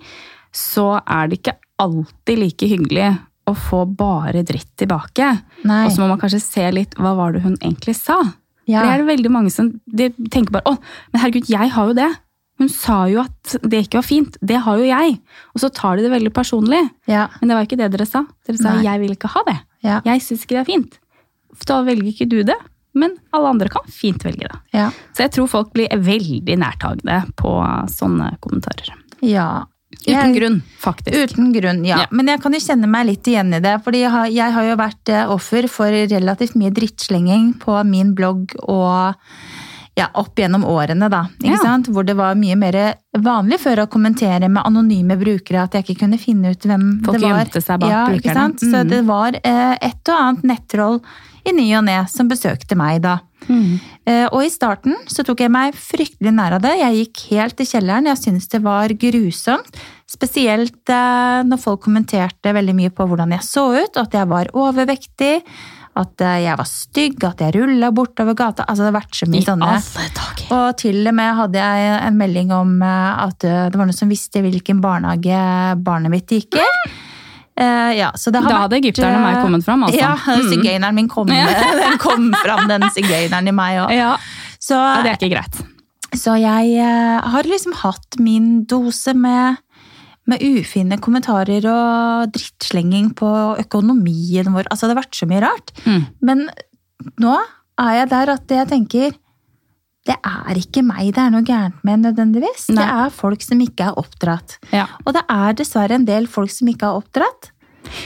Speaker 2: så er det ikke alltid like hyggelig å få bare dritt tilbake.
Speaker 1: Nei.
Speaker 2: Og så må man kanskje se litt hva var det hun egentlig sa.
Speaker 1: Ja.
Speaker 2: For Det er det veldig mange som de tenker bare 'Å, men herregud, jeg har jo det'. Hun sa jo at det ikke var fint. Det har jo jeg. Og så tar de det veldig personlig.
Speaker 1: Ja,
Speaker 2: Men det var ikke det dere sa. Dere sa
Speaker 1: Nei.
Speaker 2: 'jeg vil ikke ha det'.
Speaker 1: ja,
Speaker 2: Jeg syns ikke det er fint. For Da velger ikke du det, men alle andre kan fint velge det.
Speaker 1: ja.
Speaker 2: Så jeg tror folk blir veldig nærtagende på sånne kommentarer.
Speaker 1: ja.
Speaker 2: Uten
Speaker 1: Jeg-
Speaker 2: grunn, faktisk.
Speaker 1: Uten grunn, ja.
Speaker 2: Ja.
Speaker 1: Men jeg kan jo kjenne meg litt igjen i det. fordi jeg har, jeg har jo vært eh, offer for relativt mye drittslenging på min blogg og ja, opp gjennom årene, da. Ikke
Speaker 2: Ja.
Speaker 1: sant? Hvor det var mye mer vanlig før å kommentere med anonyme brukere at jeg ikke kunne finne ut hvem
Speaker 2: Folk
Speaker 1: det var.
Speaker 2: gjemte seg bak
Speaker 1: ja,
Speaker 2: brukerne.
Speaker 1: Ikke sant? Så
Speaker 2: Mhm.
Speaker 1: det var eh, et og annet nettroll i ny og ne som besøkte meg da.
Speaker 2: Mhm.
Speaker 1: Eh, Og i starten så tok jeg meg fryktelig nær av det. Jeg gikk helt i kjelleren. Jeg syntes det var grusomt. Spesielt eh, når folk kommenterte veldig mye på hvordan jeg så ut, at jeg var overvektig, at eh, jeg var stygg, at jeg rulla bortover gata. Altså, det har vært så
Speaker 2: I
Speaker 1: mye sånne.
Speaker 2: alle dager.
Speaker 1: Og til og med hadde jeg en melding om eh, at eh, det var noen som visste hvilken barnehage barnet mitt gikk i. Eh, ja, så det har
Speaker 2: Da
Speaker 1: vært,
Speaker 2: hadde egypterne og meg
Speaker 1: eh,
Speaker 2: kommet fram, altså.
Speaker 1: Ja, <laughs> sigøyneren min
Speaker 2: <laughs>
Speaker 1: kom, den kom fram, den sigøyneren i meg òg.
Speaker 2: Ja,
Speaker 1: Så,
Speaker 2: ja, det er ikke greit.
Speaker 1: så jeg eh, har liksom hatt min dose med, med ufine kommentarer og drittslenging på økonomien vår. Altså, det har vært så mye rart.
Speaker 2: Mm.
Speaker 1: Men nå er jeg der at jeg tenker det er ikke meg det er noe gærent med nødvendigvis. Det
Speaker 2: Nei.
Speaker 1: er folk som ikke er oppdratt.
Speaker 2: Ja.
Speaker 1: Og det er dessverre en del folk som ikke er oppdratt.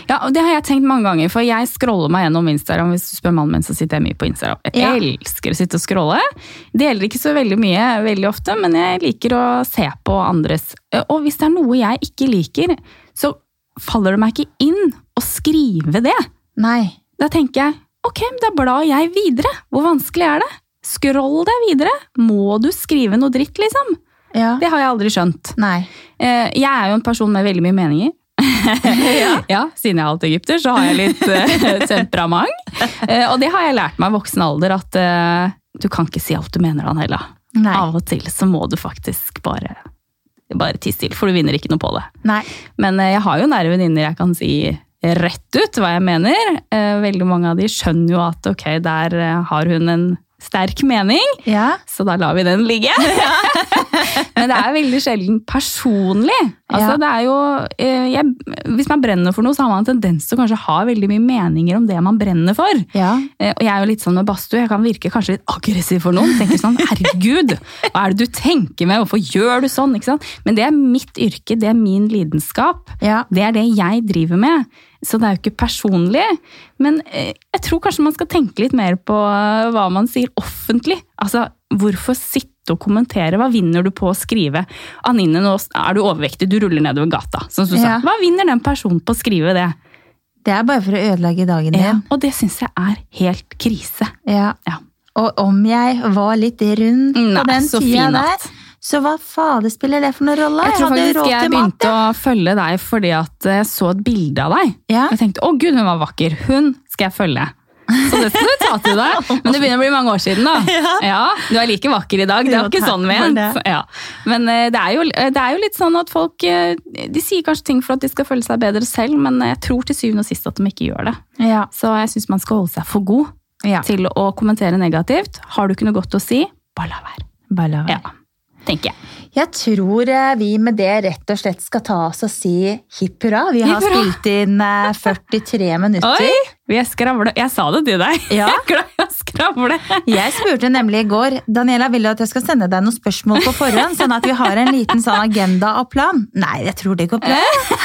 Speaker 2: Ja, og Det har jeg tenkt mange ganger, for jeg scroller meg gjennom Instagram. Hvis du spør mannen min, så sitter jeg mye på Instagram. Jeg
Speaker 1: Ja.
Speaker 2: elsker å sitte og scrolle. Deler ikke så veldig mye veldig ofte, men jeg liker å se på andres. Og hvis det er noe jeg ikke liker, så faller det meg ikke inn å skrive det.
Speaker 1: Nei.
Speaker 2: Da tenker jeg ok, men da blar jeg videre. Hvor vanskelig er det? Scroll deg videre. Må du skrive noe dritt, liksom?
Speaker 1: Ja.
Speaker 2: Det har jeg aldri skjønt.
Speaker 1: Nei.
Speaker 2: Eh, Jeg er jo en person med veldig mye meninger. <laughs> ja. Siden jeg er halvt egypter, så har jeg litt eh, <laughs> temperament. Eh, og det har jeg lært meg i voksen alder, at eh, du kan ikke si alt du mener, Anella.
Speaker 1: Nei.
Speaker 2: Av og til så må du faktisk bare, bare tie stille, for du vinner ikke noe på det.
Speaker 1: Nei.
Speaker 2: Men eh, jeg har jo nære venninner jeg kan si rett ut hva jeg mener. Eh, Veldig mange av de skjønner jo at ok, der eh, har hun en sterk mening,
Speaker 1: Ja.
Speaker 2: så da lar vi den <laughs> ligge. Men det er veldig sjelden personlig. Altså,
Speaker 1: Ja.
Speaker 2: det er jo, eh, jeg, hvis man brenner for noe, så har man en tendens til å kanskje ha veldig mye meninger om det man brenner for.
Speaker 1: Ja.
Speaker 2: Eh, Og jeg er jo litt sånn med badstue, jeg kan virke kanskje litt aggressiv for noen. Tenker sånn, herregud, hva er det du tenker med, hvorfor gjør du sånn? Ikke sant? Men det er mitt yrke, det er min lidenskap.
Speaker 1: Ja.
Speaker 2: Det er det jeg driver med, så det er jo ikke personlig. Men eh, jeg tror kanskje man skal tenke litt mer på eh, hva man sier offentlig. Altså, hvorfor sitte og kommentere? Hva vinner du på å skrive? Anine, nå er du overvektig, du ruller nedover gata. Som du
Speaker 1: Ja.
Speaker 2: sa. Hva vinner den personen på å skrive det?
Speaker 1: Det er bare for å ødelegge dagen
Speaker 2: Ja.
Speaker 1: din.
Speaker 2: Og det syns jeg er helt krise.
Speaker 1: Ja.
Speaker 2: Ja.
Speaker 1: Og om jeg var litt rund
Speaker 2: Nei,
Speaker 1: på den
Speaker 2: så
Speaker 1: tida
Speaker 2: fin at-
Speaker 1: der, så hva fader spiller det for noen rolle?
Speaker 2: Jeg tror
Speaker 1: Ah, hadde
Speaker 2: faktisk
Speaker 1: råd
Speaker 2: jeg
Speaker 1: til mat,
Speaker 2: begynte å følge deg fordi at jeg så et bilde av deg.
Speaker 1: Ja.
Speaker 2: Jeg tenkte 'Å gud, hun var vakker. Hun skal jeg følge'. Så det skal du ta
Speaker 1: <laughs>
Speaker 2: til deg. Men det begynner å bli mange år siden, da.
Speaker 1: Ja.
Speaker 2: Du er like vakker i dag. Det
Speaker 1: Jo,
Speaker 2: er
Speaker 1: takk
Speaker 2: ikke sånn
Speaker 1: for
Speaker 2: ment.
Speaker 1: det.
Speaker 2: Ja. Men eh, det er, jo, det er jo litt sånn at folk eh, De sier kanskje ting for at de skal føle seg bedre selv, men jeg tror til syvende og sist at de ikke gjør det.
Speaker 1: ja. Ja.
Speaker 2: Så jeg syns man skal holde seg for god
Speaker 1: Ja.
Speaker 2: til å kommentere negativt. Har du ikke noe godt å si, bare la være.
Speaker 1: Bare la være.
Speaker 2: Ja, tenker jeg.
Speaker 1: Jeg tror eh, vi med det rett og slett skal ta oss og si hipp hurra. Vi har
Speaker 2: Hipp hurra.
Speaker 1: spilt inn
Speaker 2: <laughs>
Speaker 1: eh, 43 minutter.
Speaker 2: Oi! Vi er skravle. Jeg sa det til deg.
Speaker 1: Ja.
Speaker 2: <laughs> Jeg er glad i å skravle.
Speaker 1: Jeg spurte nemlig i går Daniela vil jo at jeg skal sende deg noen spørsmål på forhånd, sånn at vi har en liten sånn agenda og plan. Nei, jeg tror det går bra.
Speaker 2: Eh?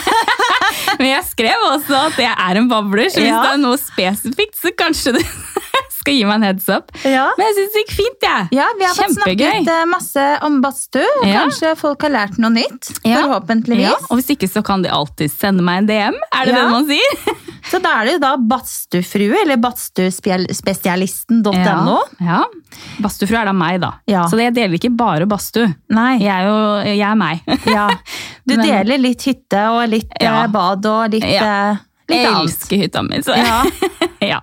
Speaker 2: Men jeg skrev også at jeg er en babler, så hvis
Speaker 1: Ja.
Speaker 2: det er noe spesifikt, så kanskje du <laughs> skal gi meg en heads up.
Speaker 1: Ja.
Speaker 2: Men jeg syns det gikk fint, jeg.
Speaker 1: Ja, Vi har fått
Speaker 2: Kjempegøy.
Speaker 1: snakket eh, masse om badstue. og
Speaker 2: Ja.
Speaker 1: Kanskje folk har lært noe nytt.
Speaker 2: Ja.
Speaker 1: Forhåpentligvis.
Speaker 2: Ja, og hvis ikke, så kan de alltid sende meg en DM. Er det
Speaker 1: Ja.
Speaker 2: det man sier?
Speaker 1: Så da er det jo da badstuefrue, eller badstuespesialisten.no.
Speaker 2: ja. Badstuefru er da meg, da.
Speaker 1: Ja.
Speaker 2: Så jeg deler ikke bare badstue.
Speaker 1: Nei,
Speaker 2: Jeg er jo jeg
Speaker 1: <laughs>
Speaker 2: er meg.
Speaker 1: ja. Du
Speaker 2: Men-
Speaker 1: deler litt hytte og litt
Speaker 2: Ja.
Speaker 1: eh, bad og litt,
Speaker 2: Ja.
Speaker 1: eh, litt
Speaker 2: jeg
Speaker 1: annet.
Speaker 2: elsker hytta mi, så
Speaker 1: Ja.
Speaker 2: <laughs> ja.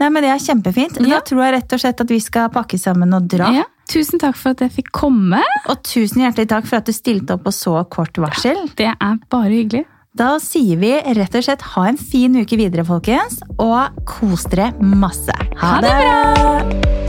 Speaker 1: Nei, men det er kjempefint. Da
Speaker 2: Ja.
Speaker 1: tror jeg rett og slett at vi skal pakke sammen og dra.
Speaker 2: ja. Tusen takk for at jeg fikk komme.
Speaker 1: Og tusen hjertelig takk for at du stilte opp på så kort varsel.
Speaker 2: Det er bare hyggelig.
Speaker 1: Da sier vi rett og slett ha en fin uke videre, folkens, og kos dere masse. Ha,
Speaker 2: Ha det
Speaker 1: bra!